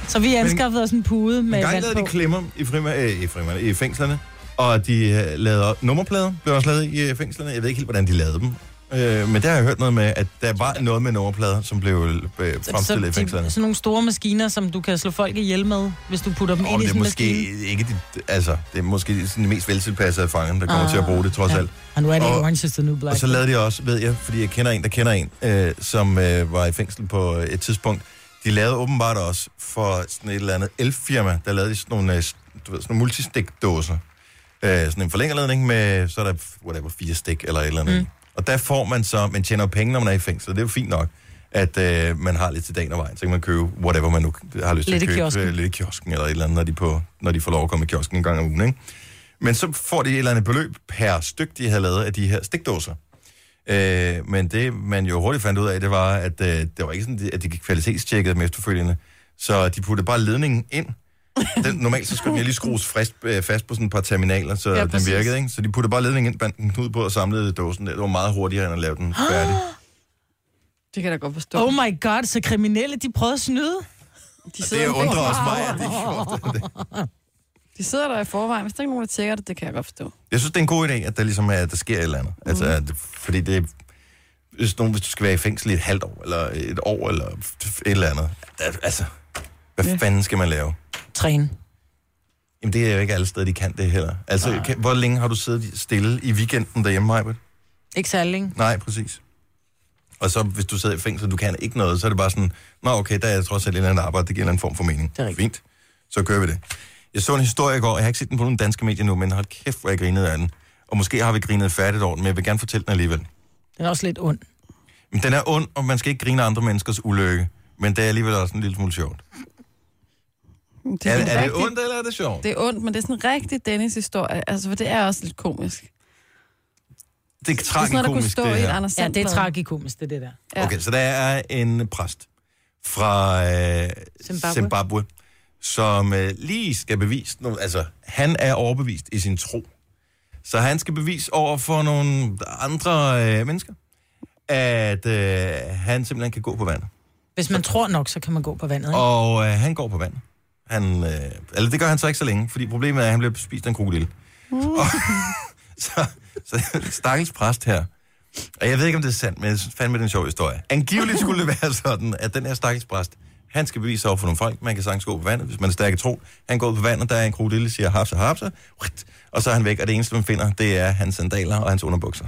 Så vi anskaffede os en pude En med gang vand lavede på. de klemmer i, frimær, øh, i, frimær, i fængslerne, og de øh, lavede op- nummerplader, blev også lavet i øh, fængslerne. Jeg ved ikke helt, hvordan de lavede dem. Øh, men der har jeg hørt noget med, at der var noget med nummerplader, som blev øh, fremstillet i så de, fængslerne. sådan nogle store maskiner, som du kan slå folk ihjel med, hvis du putter dem Og ind i det er sådan en måske maskine. ikke de, altså, det er måske sådan de mest veltilpassede fanger, der kommer Ah, til at bruge det, trods ja. alt. Og nu er det Og- og, Orange is the New Black. Og så lavede de også, ved jeg, fordi jeg kender en, der kender en, øh, som øh, var i fængsel på øh, et tidspunkt. De lavede åbenbart også for sådan et eller andet elfirma, der lavede de sådan nogle, øh, s- du ved, sådan nogle multistikdåser. Øh, sådan en forlængerledning med, så er der whatever, fire stik eller et eller andet. Mm. Og der får man så, man tjener jo penge, når man er i fængsel, og det er jo fint nok at øh, man har lidt til dagen og vejen, så kan man købe whatever man nu har lyst til Lidt at i købe. kiosken. øh, Lidt i kiosken eller et eller andet, når de, på, når de får lov at komme i kiosken en gang om ugen. Ikke? Men så får de et eller andet beløb per styk, de havde lavet af de her stikdåser. Øh, men det, man jo hurtigt fandt ud af, det var, at øh, det var ikke sådan, at de kvalitetstjekkede dem efterfølgende. Så de puttede bare ledningen ind. Den, normalt så skulle den jo lige skrues frist, øh, fast på sådan et par terminaler, så Ja, ja, den præcis. virkede. Ikke? Så de puttede bare ledningen ind, bandt en knude på og samlede dåsen der. Det var meget hurtigere end at lave den færdig. Det kan jeg da godt forstå. Oh my god, så kriminelle, de prøvede at snyde. De det jo undrer også mig, forvejen. at de ikke De sidder der i forvejen. Hvis der ikke er nogen, der tjekker det, det kan jeg godt forstå. Jeg synes, det er en god idé, at der ligesom er, at der sker et eller andet. Mm. Altså, at, fordi det hvis, nogen, hvis du skal være i fængsel i et halvt år, eller et år, eller et eller andet. al- Altså, hvad yeah. fanden skal man lave? Træne. Jamen, det er jo ikke alle steder, de kan det heller. Altså, kan, hvor længe har du siddet stille i weekenden derhjemme, Majbet? Ikke særlig længe. Nej, præcis. Og så, hvis du sidder i fængsel, du kan ikke noget, så er det bare sådan, nå okay, der er jeg trods alt et eller andet arbejde, det giver en eller anden form for mening. Det er rigtigt. Fint, så kører vi det. Jeg så en historie i går, jeg har ikke set den på nogen danske medier nu, men hold kæft, hvor jeg grinede af den. Og måske har vi grinet færdigt over den, men jeg vil gerne fortælle den alligevel. Den er også lidt ond. Men den er ond, og man skal ikke grine af andre menneskers ulykke, men det er alligevel også en lille smule sjovt. Det er, sådan er det rigtig- ondt, eller er det sjovt? Det er ondt, men det er sådan en rigtig Dennis-historie. Altså, for det er også lidt komisk. Det Det er er sådan noget, der kunne tragikomisk, stå det i et her. Anders Ja, det er Sandblad. tragikomisk, det, det der. Ja. Okay, så der er en præst fra øh, Zimbabwe. Zimbabwe. Zimbabwe, som øh, lige skal bevise... Nogle, altså, han er overbevist i sin tro. Så han skal bevise over for nogle andre øh, mennesker, at øh, han simpelthen kan gå på vandet. Hvis man tror nok, så kan man gå på vandet. Ikke? Og øh, han går på vandet. Han, øh, eller det gør han så ikke så længe, fordi problemet er, at han bliver spist af en krokodille. Uh. Så, så stakkels præst her. Og jeg ved ikke, om det er sandt, men jeg synes fandme, det er en sjov historie. Angiveligt skulle det være sådan, at den her stakkels præst, han skal bevise over for nogle folk, man kan sagtens gå på vandet, hvis man er stærk i tro. Han går ud på vandet, der er en krokodille, siger hapsa, hapsa, Whit. og så er han væk, og det eneste, man finder, det er hans sandaler og hans underbukser.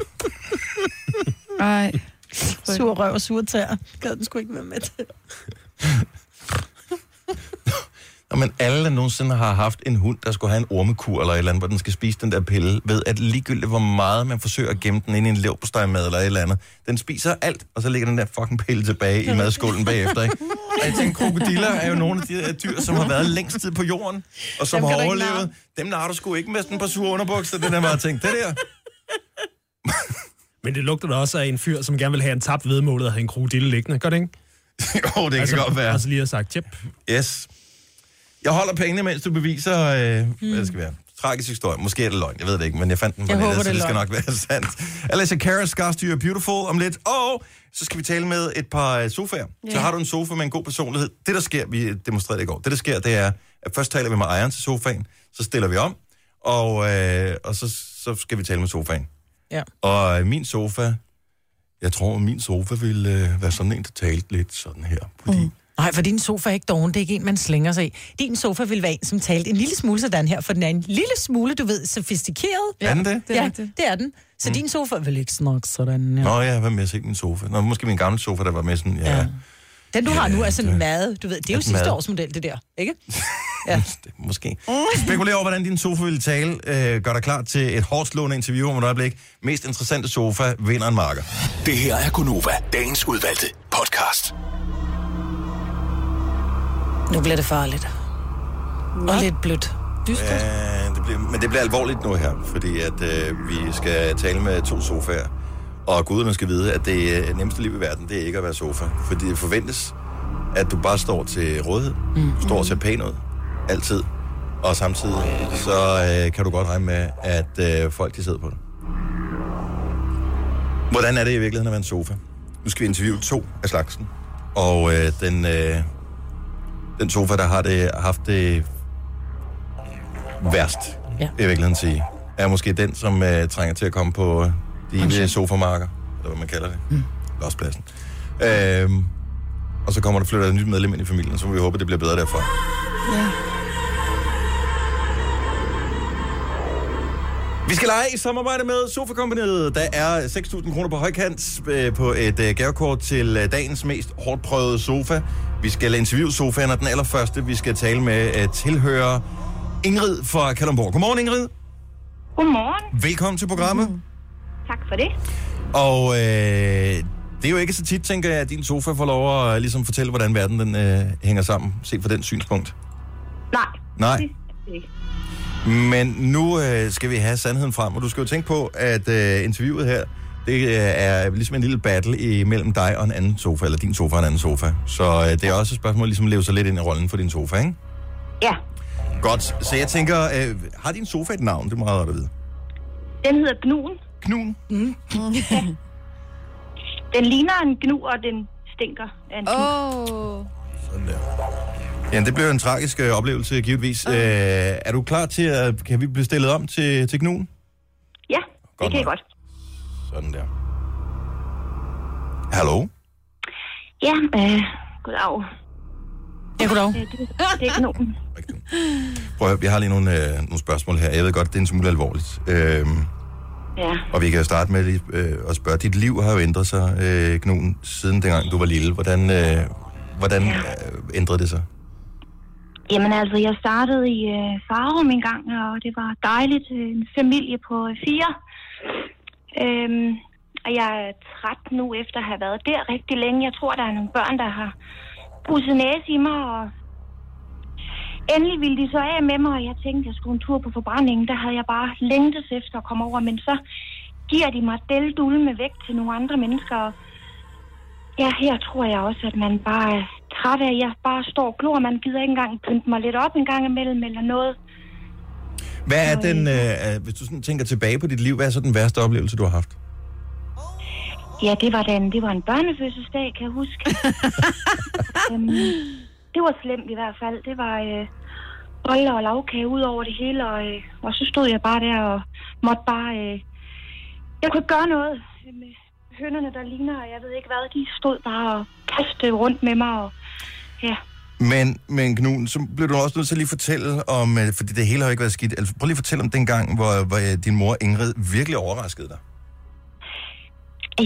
Ej. Sur røv og sure tæer. Gad den skulle ikke være med til. Nå, men alle, der nogensinde har haft en hund, der skulle have en ormekur eller et eller andet, hvor den skal spise den der pille, ved at ligegyldigt, hvor meget man forsøger at gemme den ind i en leverpostejmad eller et eller andet, den spiser alt, og så ligger den der fucking pille tilbage i madskålen bagefter, ikke? Og jeg tænker, krokodiller er jo nogle af de der dyr, som har været længst tid på jorden, og som Dem har kan du ikke overlevet. Dem nar du sgu ikke med sådan et par sure underbukser, den der bare tænkt, det der. Men det lugter da også af en fyr, som gerne vil have en tabt vedmålet og have en krokodille liggende, gør det ikke? jo, det kan altså, godt være. Altså lige har sagt, tjep. Yes. Jeg holder pengene, mens du beviser, øh, mm. hvad det skal være. Tragisk historie. Måske er det løgn, jeg ved det ikke, men jeg fandt den på Hmm. Jeg nettet, håber, så det det er skal løgn. nok være sandt. Alicia Cara, Scarstyr, Beautiful om lidt. Og så skal vi tale med et par øh, sofaer. Yeah. Så Ja. har du en sofa med en god personlighed. Det, der sker, vi demonstrerede det i går, det, der sker, det er, at først taler vi med ejeren til sofaen, så stiller vi om, og, øh, og så, så skal vi tale med sofaen. Ja. Og øh, min sofa, jeg tror, min sofa ville øh, være sådan en, der talte lidt sådan her. Nej, for din sofa er ikke doven, det er ikke en, man slænger sig i. Din sofa vil være en, som talte en lille smule sådan her, for den er en lille smule, du ved, sofistikeret. Er den det? Ja, Det det er er, ja, det er den. Så mm. din sofa vil ikke snakke sådan. Ja. Ja. Nå ja, hvad med at se min sofa? Nå, måske min gamle sofa, der var med sådan, ja, ja. Den, du har nu, er sådan meget, du ved, det er jo At sidste mad. års model, det der, ikke? måske. Spekulér over, hvordan din sofa ville tale. Øh, gør dig klar til et hårdt slående interview om et øjeblik. Mest interessante sofa vinder en marker. Det her er Gunova, dagens udvalgte podcast. Nu bliver det farligt. Og lidt blødt. Ja, Øh, det bliver, men det bliver alvorligt nu her, fordi at øh, vi skal tale med to sofaer. Og guderne skal vide, at det øh, nemmeste liv i verden, det er ikke at være sofa. Fordi det forventes, at du bare står til rådighed, mm. står og ser pæn ud, altid. Og samtidig, så øh, kan du godt regne med, at øh, folk de sidder på dig. Hvordan er det i virkeligheden at være en sofa? Nu skal vi interviewe to af slagsen. Og øh, den, øh, den sofa, der har det, haft det værst, ja. i virkeligheden sige, er måske den, som øh, trænger til at komme på øh, de okay. sofamarker, eller hvad man kalder det. Mm. Lostpladsen. Øhm, og så kommer der flytter et nyt medlem ind i familien, så må vi håbe, det bliver bedre derfra. Ja. Vi skal lege i samarbejde med sofa Companyet. Der er 6.000 kroner på højkant øh, på et øh, gavekort til øh, dagens mest hårdt prøvede sofa. Vi skal interviewe sofaen, og den allerførste, vi skal tale med, øh, tilhører Ingrid fra Kalundborg. Godmorgen, Ingrid. Godmorgen. Velkommen til programmet. Mm-hmm. Tak for det. Og øh, det er jo ikke så tit, tænker jeg, at din sofa får lov at øh, ligesom fortælle, hvordan verden den, øh, hænger sammen, set fra den synspunkt. Nej. Nej. Det er det ikke. Men nu øh, skal vi have sandheden frem, og du skal jo tænke på, at øh, interviewet her, det øh, er ligesom en lille battle imellem dig og en anden sofa, eller din sofa og en anden sofa. Så øh, det er også et spørgsmål, ligesom at leve sig lidt ind i rollen for din sofa, ikke? Ja, Godt, så jeg tænker, øh, har din sofa et navn? Det er meget rart at vide. den hedder Gnuen. Gnuen? Mm. ja. Den ligner en gnu, og den stinker af en gnu. Åh. Oh. Sådan der. Jamen, det blev en tragisk øh, oplevelse, givetvis. Øh, er du klar til, at kan vi blive stillet om til, til knuen? Ja, det Godt kan I nok. godt. Sådan der. Hallo? Ja, øh, goddag. Ja, goddag. Øh, det, det er Gnomen. Prøv at høre, jeg har lige nogle, øh, nogle spørgsmål her. Jeg ved godt, det er en smule alvorligt. Øh, Ja. og vi kan jo starte med lige, øh, at spørge, dit liv har jo ændret sig, øh, Knuden, siden dengang du var lille. Hvordan, øh, hvordan øh, ændrede det sig? Jamen altså, jeg startede i øh, Farum en gang, og det var dejligt. øh, En familie på øh, fire. Øhm, og jeg er træt nu efter at have været der rigtig længe. Jeg tror, der er nogle børn, der har pusset næse i mig, og endelig ville de så af med mig, og jeg tænkte, jeg skulle en tur på forbrændingen. Der havde jeg bare længtes efter at komme over, men så giver de mig dældulme væk til nogle andre mennesker, og Ja, her tror jeg også, at man bare er træt af, at jeg bare står og glor. Man gider ikke engang pynte mig lidt op en gang imellem eller noget. Hvad er den, øh, øh, hvis du sådan tænker tilbage på dit liv, hvad er så den værste oplevelse, du har haft? Ja, det var, da en, det var en børnefødselsdag, kan jeg huske. øhm, det var slemt i hvert fald. Det var øh, boller og lavkage ud over det hele, og, øh, og så stod jeg bare der og måtte bare... Øh, jeg kunne ikke gøre noget øh, med hønderne, der ligner, og jeg ved ikke hvad. De stod bare og kastede rundt med mig, og ja... Men, men Knuden, så blev du også nødt til at lige fortælle om, øh, fordi det hele har jo ikke været skidt, altså, prøv lige at fortælle om dengang, hvor, hvor øh, din mor Ingrid virkelig overraskede dig.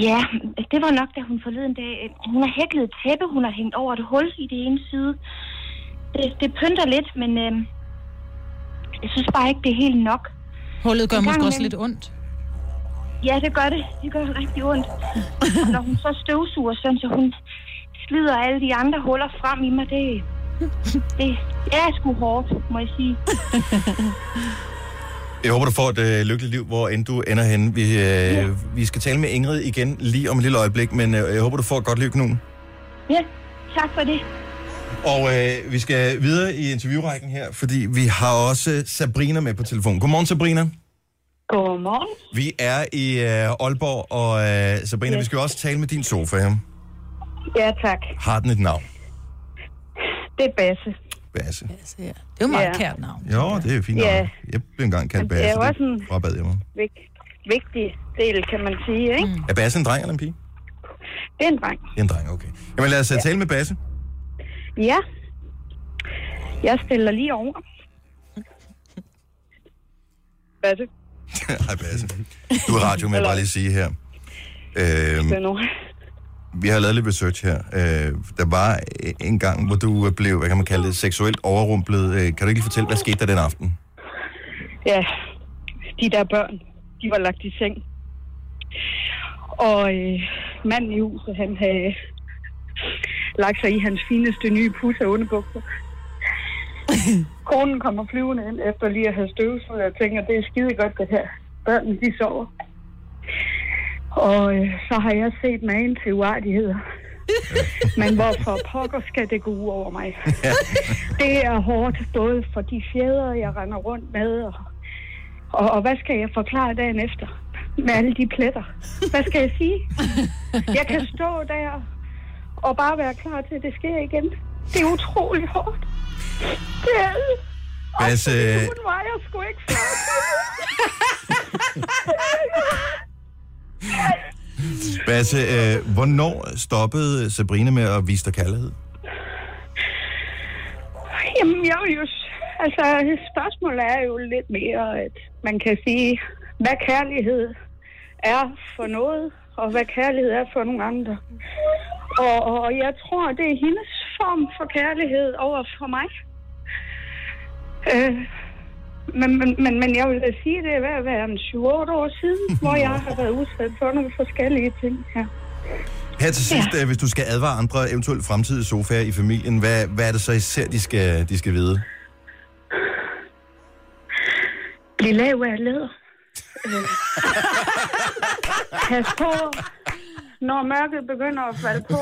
Ja, det var nok, da hun forleden dag... øh, Hun har hæklet et tæppe, hun har hængt over et hul i det ene side. Det, det pynter lidt, men øh, jeg synes bare ikke, det er helt nok. Hullet gør En gang måske også imellem- lidt ondt. Ja, det gør det. Det gør rigtig ondt. Og når hun så støvsuger, sådan, så hun slider alle de andre huller frem i mig, det, det, det er sgu hårdt, må jeg sige. Jeg håber, du får et øh, lykkeligt liv, hvor end du ender henne. Vi, øh, ja. vi skal tale med Ingrid igen lige om et lille øjeblik, men øh, jeg håber, du får et godt liv, Knuden. Ja, tak for det. Og øh, vi skal videre i interviewrækken her, fordi vi har også Sabrina med på telefonen. Godmorgen, Sabrina. Godmorgen. Vi er i øh, Aalborg, og øh, Sabrina, Ja. vi skal jo også tale med din sofa. Ja. Ja, tak. Har den et navn? Det er Basse. Basse. Basse, ja. Det er jo meget Ja. kært navn. Jo, det er fint. Ja. Ja. Jeg blev engang kaldt Men det er Basse. jo også en- Det frabad jeg mig. Vig- vigtig del, kan man sige, ikke? Mm. Er Basse en dreng eller en pige? Det er en dreng. Det er en dreng, okay. Jamen lad os ja. tale med Basse. Ja. Jeg stiller lige over. Basse. Hej Basse. Du er radio, men bare lige sige her. Øhm, Det er nu. vi har lavet lidt research her. Øh, der var øh, en gang, hvor du øh, blev, hvad kan man kalde det, seksuelt overrumplet. Øh, kan du ikke lige fortælle, hvad skete der den aften? Ja, de der børn, de var lagt i seng. Og øh, manden i huset, han havde lagt sig i hans fineste nye pusse og underbukser. Konen kommer flyvende ind efter lige at have støvsud, og jeg tænker, det er skide godt det her. Børnene, de sover. Og øh, så har jeg set magen til uartigheder. Men hvorfor pokker skal det gå ud over mig? Det er hårdt både for de fjeder, jeg render rundt med, og, og, og hvad skal jeg forklare dagen efter med alle de pletter? Hvad skal jeg sige? Jeg kan stå der og bare være klar til, at det sker igen. Det er utrolig hårdt. Det er det. Basse, øh, Hun vejer sgu ikke flot. Basse øh, hvornår stoppede Sabrina med at vise dig kærlighed? Jamen, jeg vil jo... s- Altså, spørgsmålet er jo lidt mere, at man kan sige, hvad kærlighed er for noget, og hvad kærlighed er for nogle andre. Og, og og jeg tror, det er hendes form for kærlighed over for mig. Øh, men, men, men, men jeg vil da sige, det er ved at være en 7-8 år siden, hvor jeg har været udsat for nogle forskellige ting her. Her til sidst, ja. hvis du skal advare andre eventuelt fremtidige sofaer i familien, hvad, hvad er det så især, de skal, de skal vide? Bliv lav af læder. Øh. Pas på, når mørket begynder at falde på.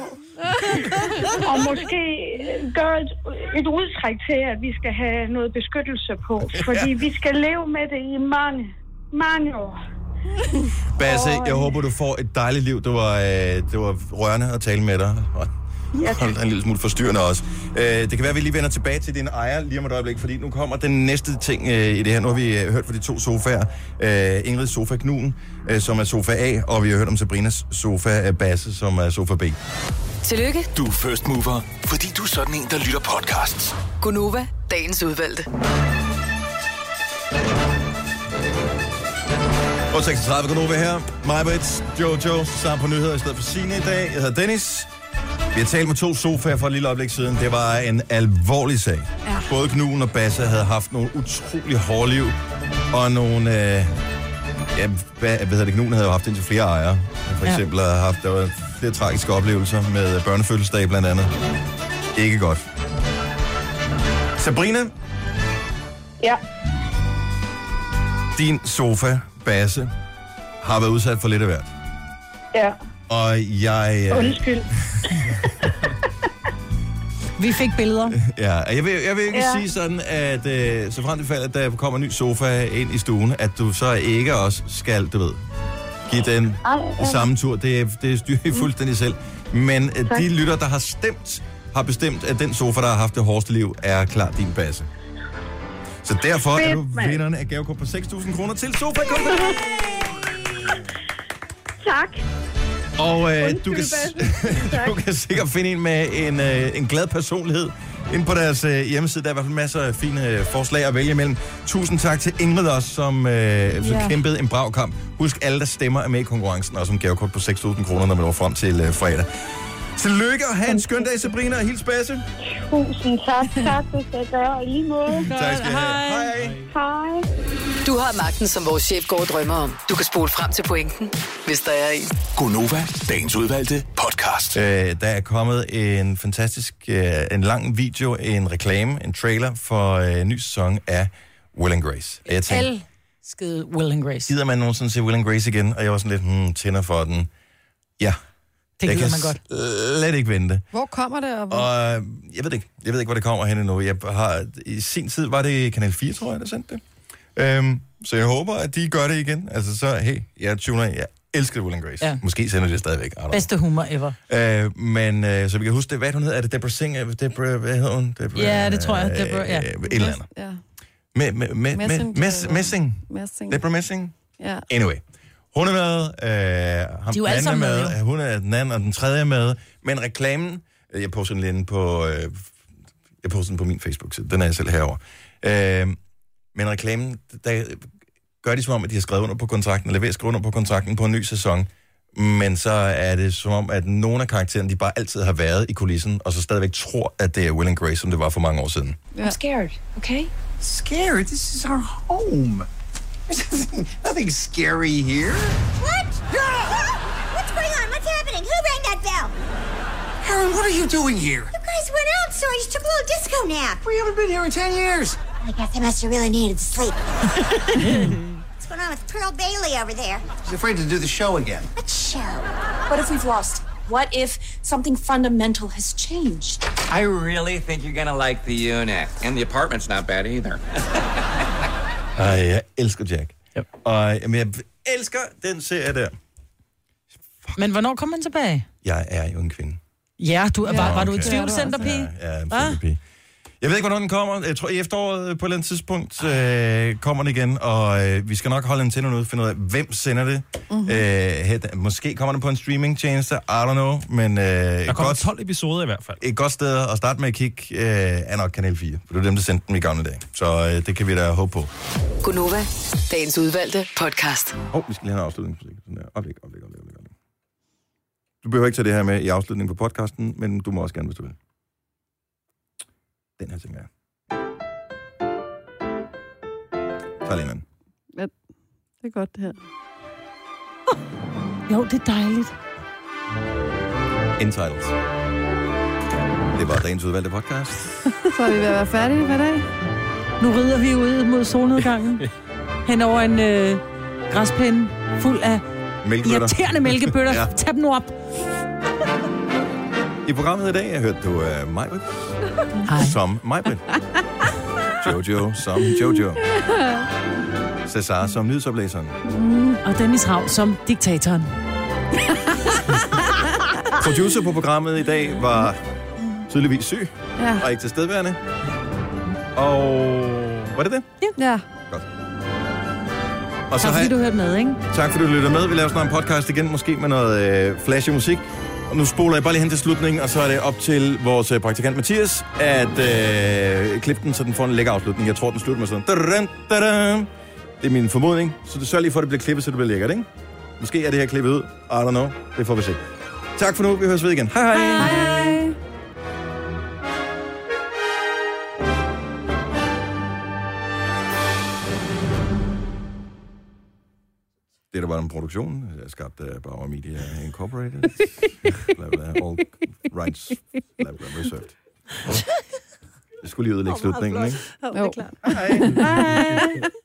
Og måske gøre et, et udtræk til, at vi skal have noget beskyttelse på. Fordi vi skal leve med det i mange, mange år. Basse, jeg håber, du får et dejligt liv. Det var, øh, det var rørende at tale med dig. Og, Ja, Hold da en lille smule forstyrrende også. Øh, det kan være, at vi lige vender tilbage til din ejer lige om et øjeblik, fordi nu kommer den næste ting øh, i det her. Nu har vi øh, hørt fra de to sofaer. Øh, Ingrid's sofa Knuden, øh, som er sofa A, og vi har hørt om Sabrinas sofa øh, Basse, som er sofa B. Tillykke, Du er first mover, fordi du er sådan en, der lytter podcasts. Gunova, dagens udvalgte. 8.36 kan over her. Majbrits, Jojo, sammen på nyheder i stedet for Signe i dag. Jeg hedder Dennis. Vi har talt med to sofaer for et lille øjeblik siden. Det var en alvorlig sag. Ja. Både Knuden og Bassa havde haft nogle utrolig hårde liv. Og nogle... Øh, ja, hvad, hvad hedder det? Knuden havde jo haft indtil flere ejere. For Ja. eksempel ja. havde haft der var flere tragiske oplevelser med børnefødselsdag blandt andet. Ikke godt. Sabrina, Ja. din sofa, Basse, har været udsat for lidt af hvert. Ja. Og jeg... øh, Undskyld. Vi fik billeder. Ja, og jeg vil, jeg vil ikke Ja. ja. sige sådan, at øh, så frem til fald, at der kommer en ny sofa ind i stuen, at du så ikke også skal, du ved, give den Ej, ja. samme tur. Det, det styrer I fuldstændig selv. Men øh, Mm. Tak. de lytter, der har stemt, har bestemt, at den sofa, der har haft det hårdeste liv, er klar din basse. Så derfor er Fedt, du mand. vinderen af gavekort på 6.000 kroner til sofa -kompagniet. Tak. Og øh, du, Undskyld, kan, Basse. Tak. du kan sikkert finde en med en, øh, en glad personlighed inde på deres øh, hjemmeside. Der er i hvert fald masser af fine øh, forslag at vælge imellem. Tusind tak til Ingrid også, som, øh, som Ja. kæmpede en brav kamp. Husk, alle der stemmer er med i konkurrencen, og som gavekort på 6.000 kroner, når man når frem til øh, fredag. Tillykke og have en skøn dag, Sabrina, og hils Basse. Tusind tak. Tak, du skal gøre og i lige måde. Tak skal I have. Hej. Hej. Du har magten, som vores chef går og drømmer om. Du kan spole frem til pointen, hvis der er en. Gonova, dagens udvalgte podcast. Øh, der er kommet en fantastisk, øh, en lang video, en reklame, en trailer for øh, en ny sæson af Will and Grace. Og jeg tænkte, El skide Will and Grace. gider man nogensinde se Will and Grace igen? Og jeg var sådan lidt, hmm, tænder for den. Ja. Det Jeg gider kan man godt. slet ikke vente. Hvor kommer det? Og hvor? Og øh, jeg ved det ikke, jeg ved ikke, hvor det kommer hen endnu. Jeg har, I sin tid var det Kanal 4, tror jeg, der sendte det. Øhm, så jeg håber, at de gør det igen. Altså så, hey, jeg tuner ind. Jeg elsker Will and Grace. Ja. Ja. Måske sender de det stadigvæk. I don't know. Bedste humor ever. Øh, men øh, så vi kan huske det. Hvad er det, hun hedder? Er det Deborah Singer? Deborah, hvad hedder hun? Deborah, Ja, det tror jeg. øh, Deborah, ja. øh, Et eller andet. Ja. Me, me, me, me, Messing, mess, Deborah. messing. Messing. Deborah Messing. Ja. Anyway. Hun er med, øh, ham De er jo alle den anden er sammen med, med, hun er den anden, og den tredje er med. Men reklamen, øh, jeg poster den lige inde på, øh, jeg poster den på min Facebook-side, den er jeg selv herover. Øh, men reklamen, der gør de som om, at de har skrevet under på kontrakten, eller ved at skrive under på kontrakten på en ny sæson. Men så er det som om, at nogle af karaktererne, de bare altid har været i kulissen, og så stadigvæk tror, at det er Will and Grace, som det var for mange år siden. I'm scared, okay? Scared? This is our home. There's nothing scary here. What? What's going on? What's happening? Who rang that bell? Aaron, what are you doing here? You guys went out, so I just took a little disco nap. We haven't been here in 10 years. I guess I must have really needed sleep. What's going on with Pearl Bailey over there? She's afraid to do the show again. What show? What if we've lost? What if something fundamental has changed? I really think you're gonna like the unit. And the apartment's not bad either. Ej, jeg elsker Jack. Yep. Og jamen, jeg elsker den serie der. Men hvornår kom man tilbage? Jeg er jo en kvinde. Ja, du, Ja, var, var du i okay. tvivl, centerpige? Ja, en Hva? fed Jeg ved ikke, hvornår den kommer. Jeg tror, i efteråret øh, på et eller andet tidspunkt øh, kommer den igen, og øh, vi skal nok holde antennen ud og finde ud af, hvem sender det. Mm-hmm. Øh, her- måske kommer den på en streamingtjeneste, I don't know, men øh, der kommer godt, 12 episoder i hvert fald. Et godt sted at starte med at kigge øh, er nok Kanal 4, for det var dem, der sendte dem i gamle dage. Så øh, det kan vi da håbe på. Gunova, dagens udvalgte podcast. Hov, oh, vi skal lige have en afslutningsmusik. Sådan der. Oplæg, oplæg, oplæg, oplæg, oplæg. Du behøver ikke tage det her med i afslutningen på podcasten, men du må også gerne, hvis du vil. Den her ting er. Så lige en anden. Ja, det er godt, det her. Jo, det er dejligt. Entitled. Det var dagens udvalgte podcast. Så er vi ved at være færdige for i dag. Nu rider vi ud mod solnedgangen. hen over en øh, græsplæne fuld af Mælkebøtter. irriterende mælkebøtter. ja. Ja. Tag dem nu op. I programmet i dag jeg hørte du uh, Majbrit. Som Majbrit. Jojo som Jojo. Cesar som nyhedsoplæseren. Mm, og Dennis Rav som diktatoren. Producer på programmet i dag var tydeligvis syg Ja. og ikke tilstedeværende. Og var det det? Ja. Og Tak har fordi jeg- du hørte med, ikke? Tak fordi du lytter med. Vi laver snart en podcast igen, måske med noget øh, flashy musik. Og nu spoler jeg bare lige hen til slutningen, og så er det op til vores øh, praktikant Mathias at øh, klippe den, så den får en lækker afslutning. Jeg tror, den slutter med sådan... Da-da, da-da. Det er min formodning. Så du sørg lige for, at det bliver klippet, så det bliver lækkert, ikke? Måske er det her klippet ud. I don't know. Det får vi se. Tak for nu. Vi høres ved igen. Hej hej. Hej. Det der var en produktion, øh, skabt af Bauer Media Incorporated. bla, bla, all rights bla, bla, reserved. Jeg skulle lige ødelægge slutningen, ikke? Jo. det er klart. Hej.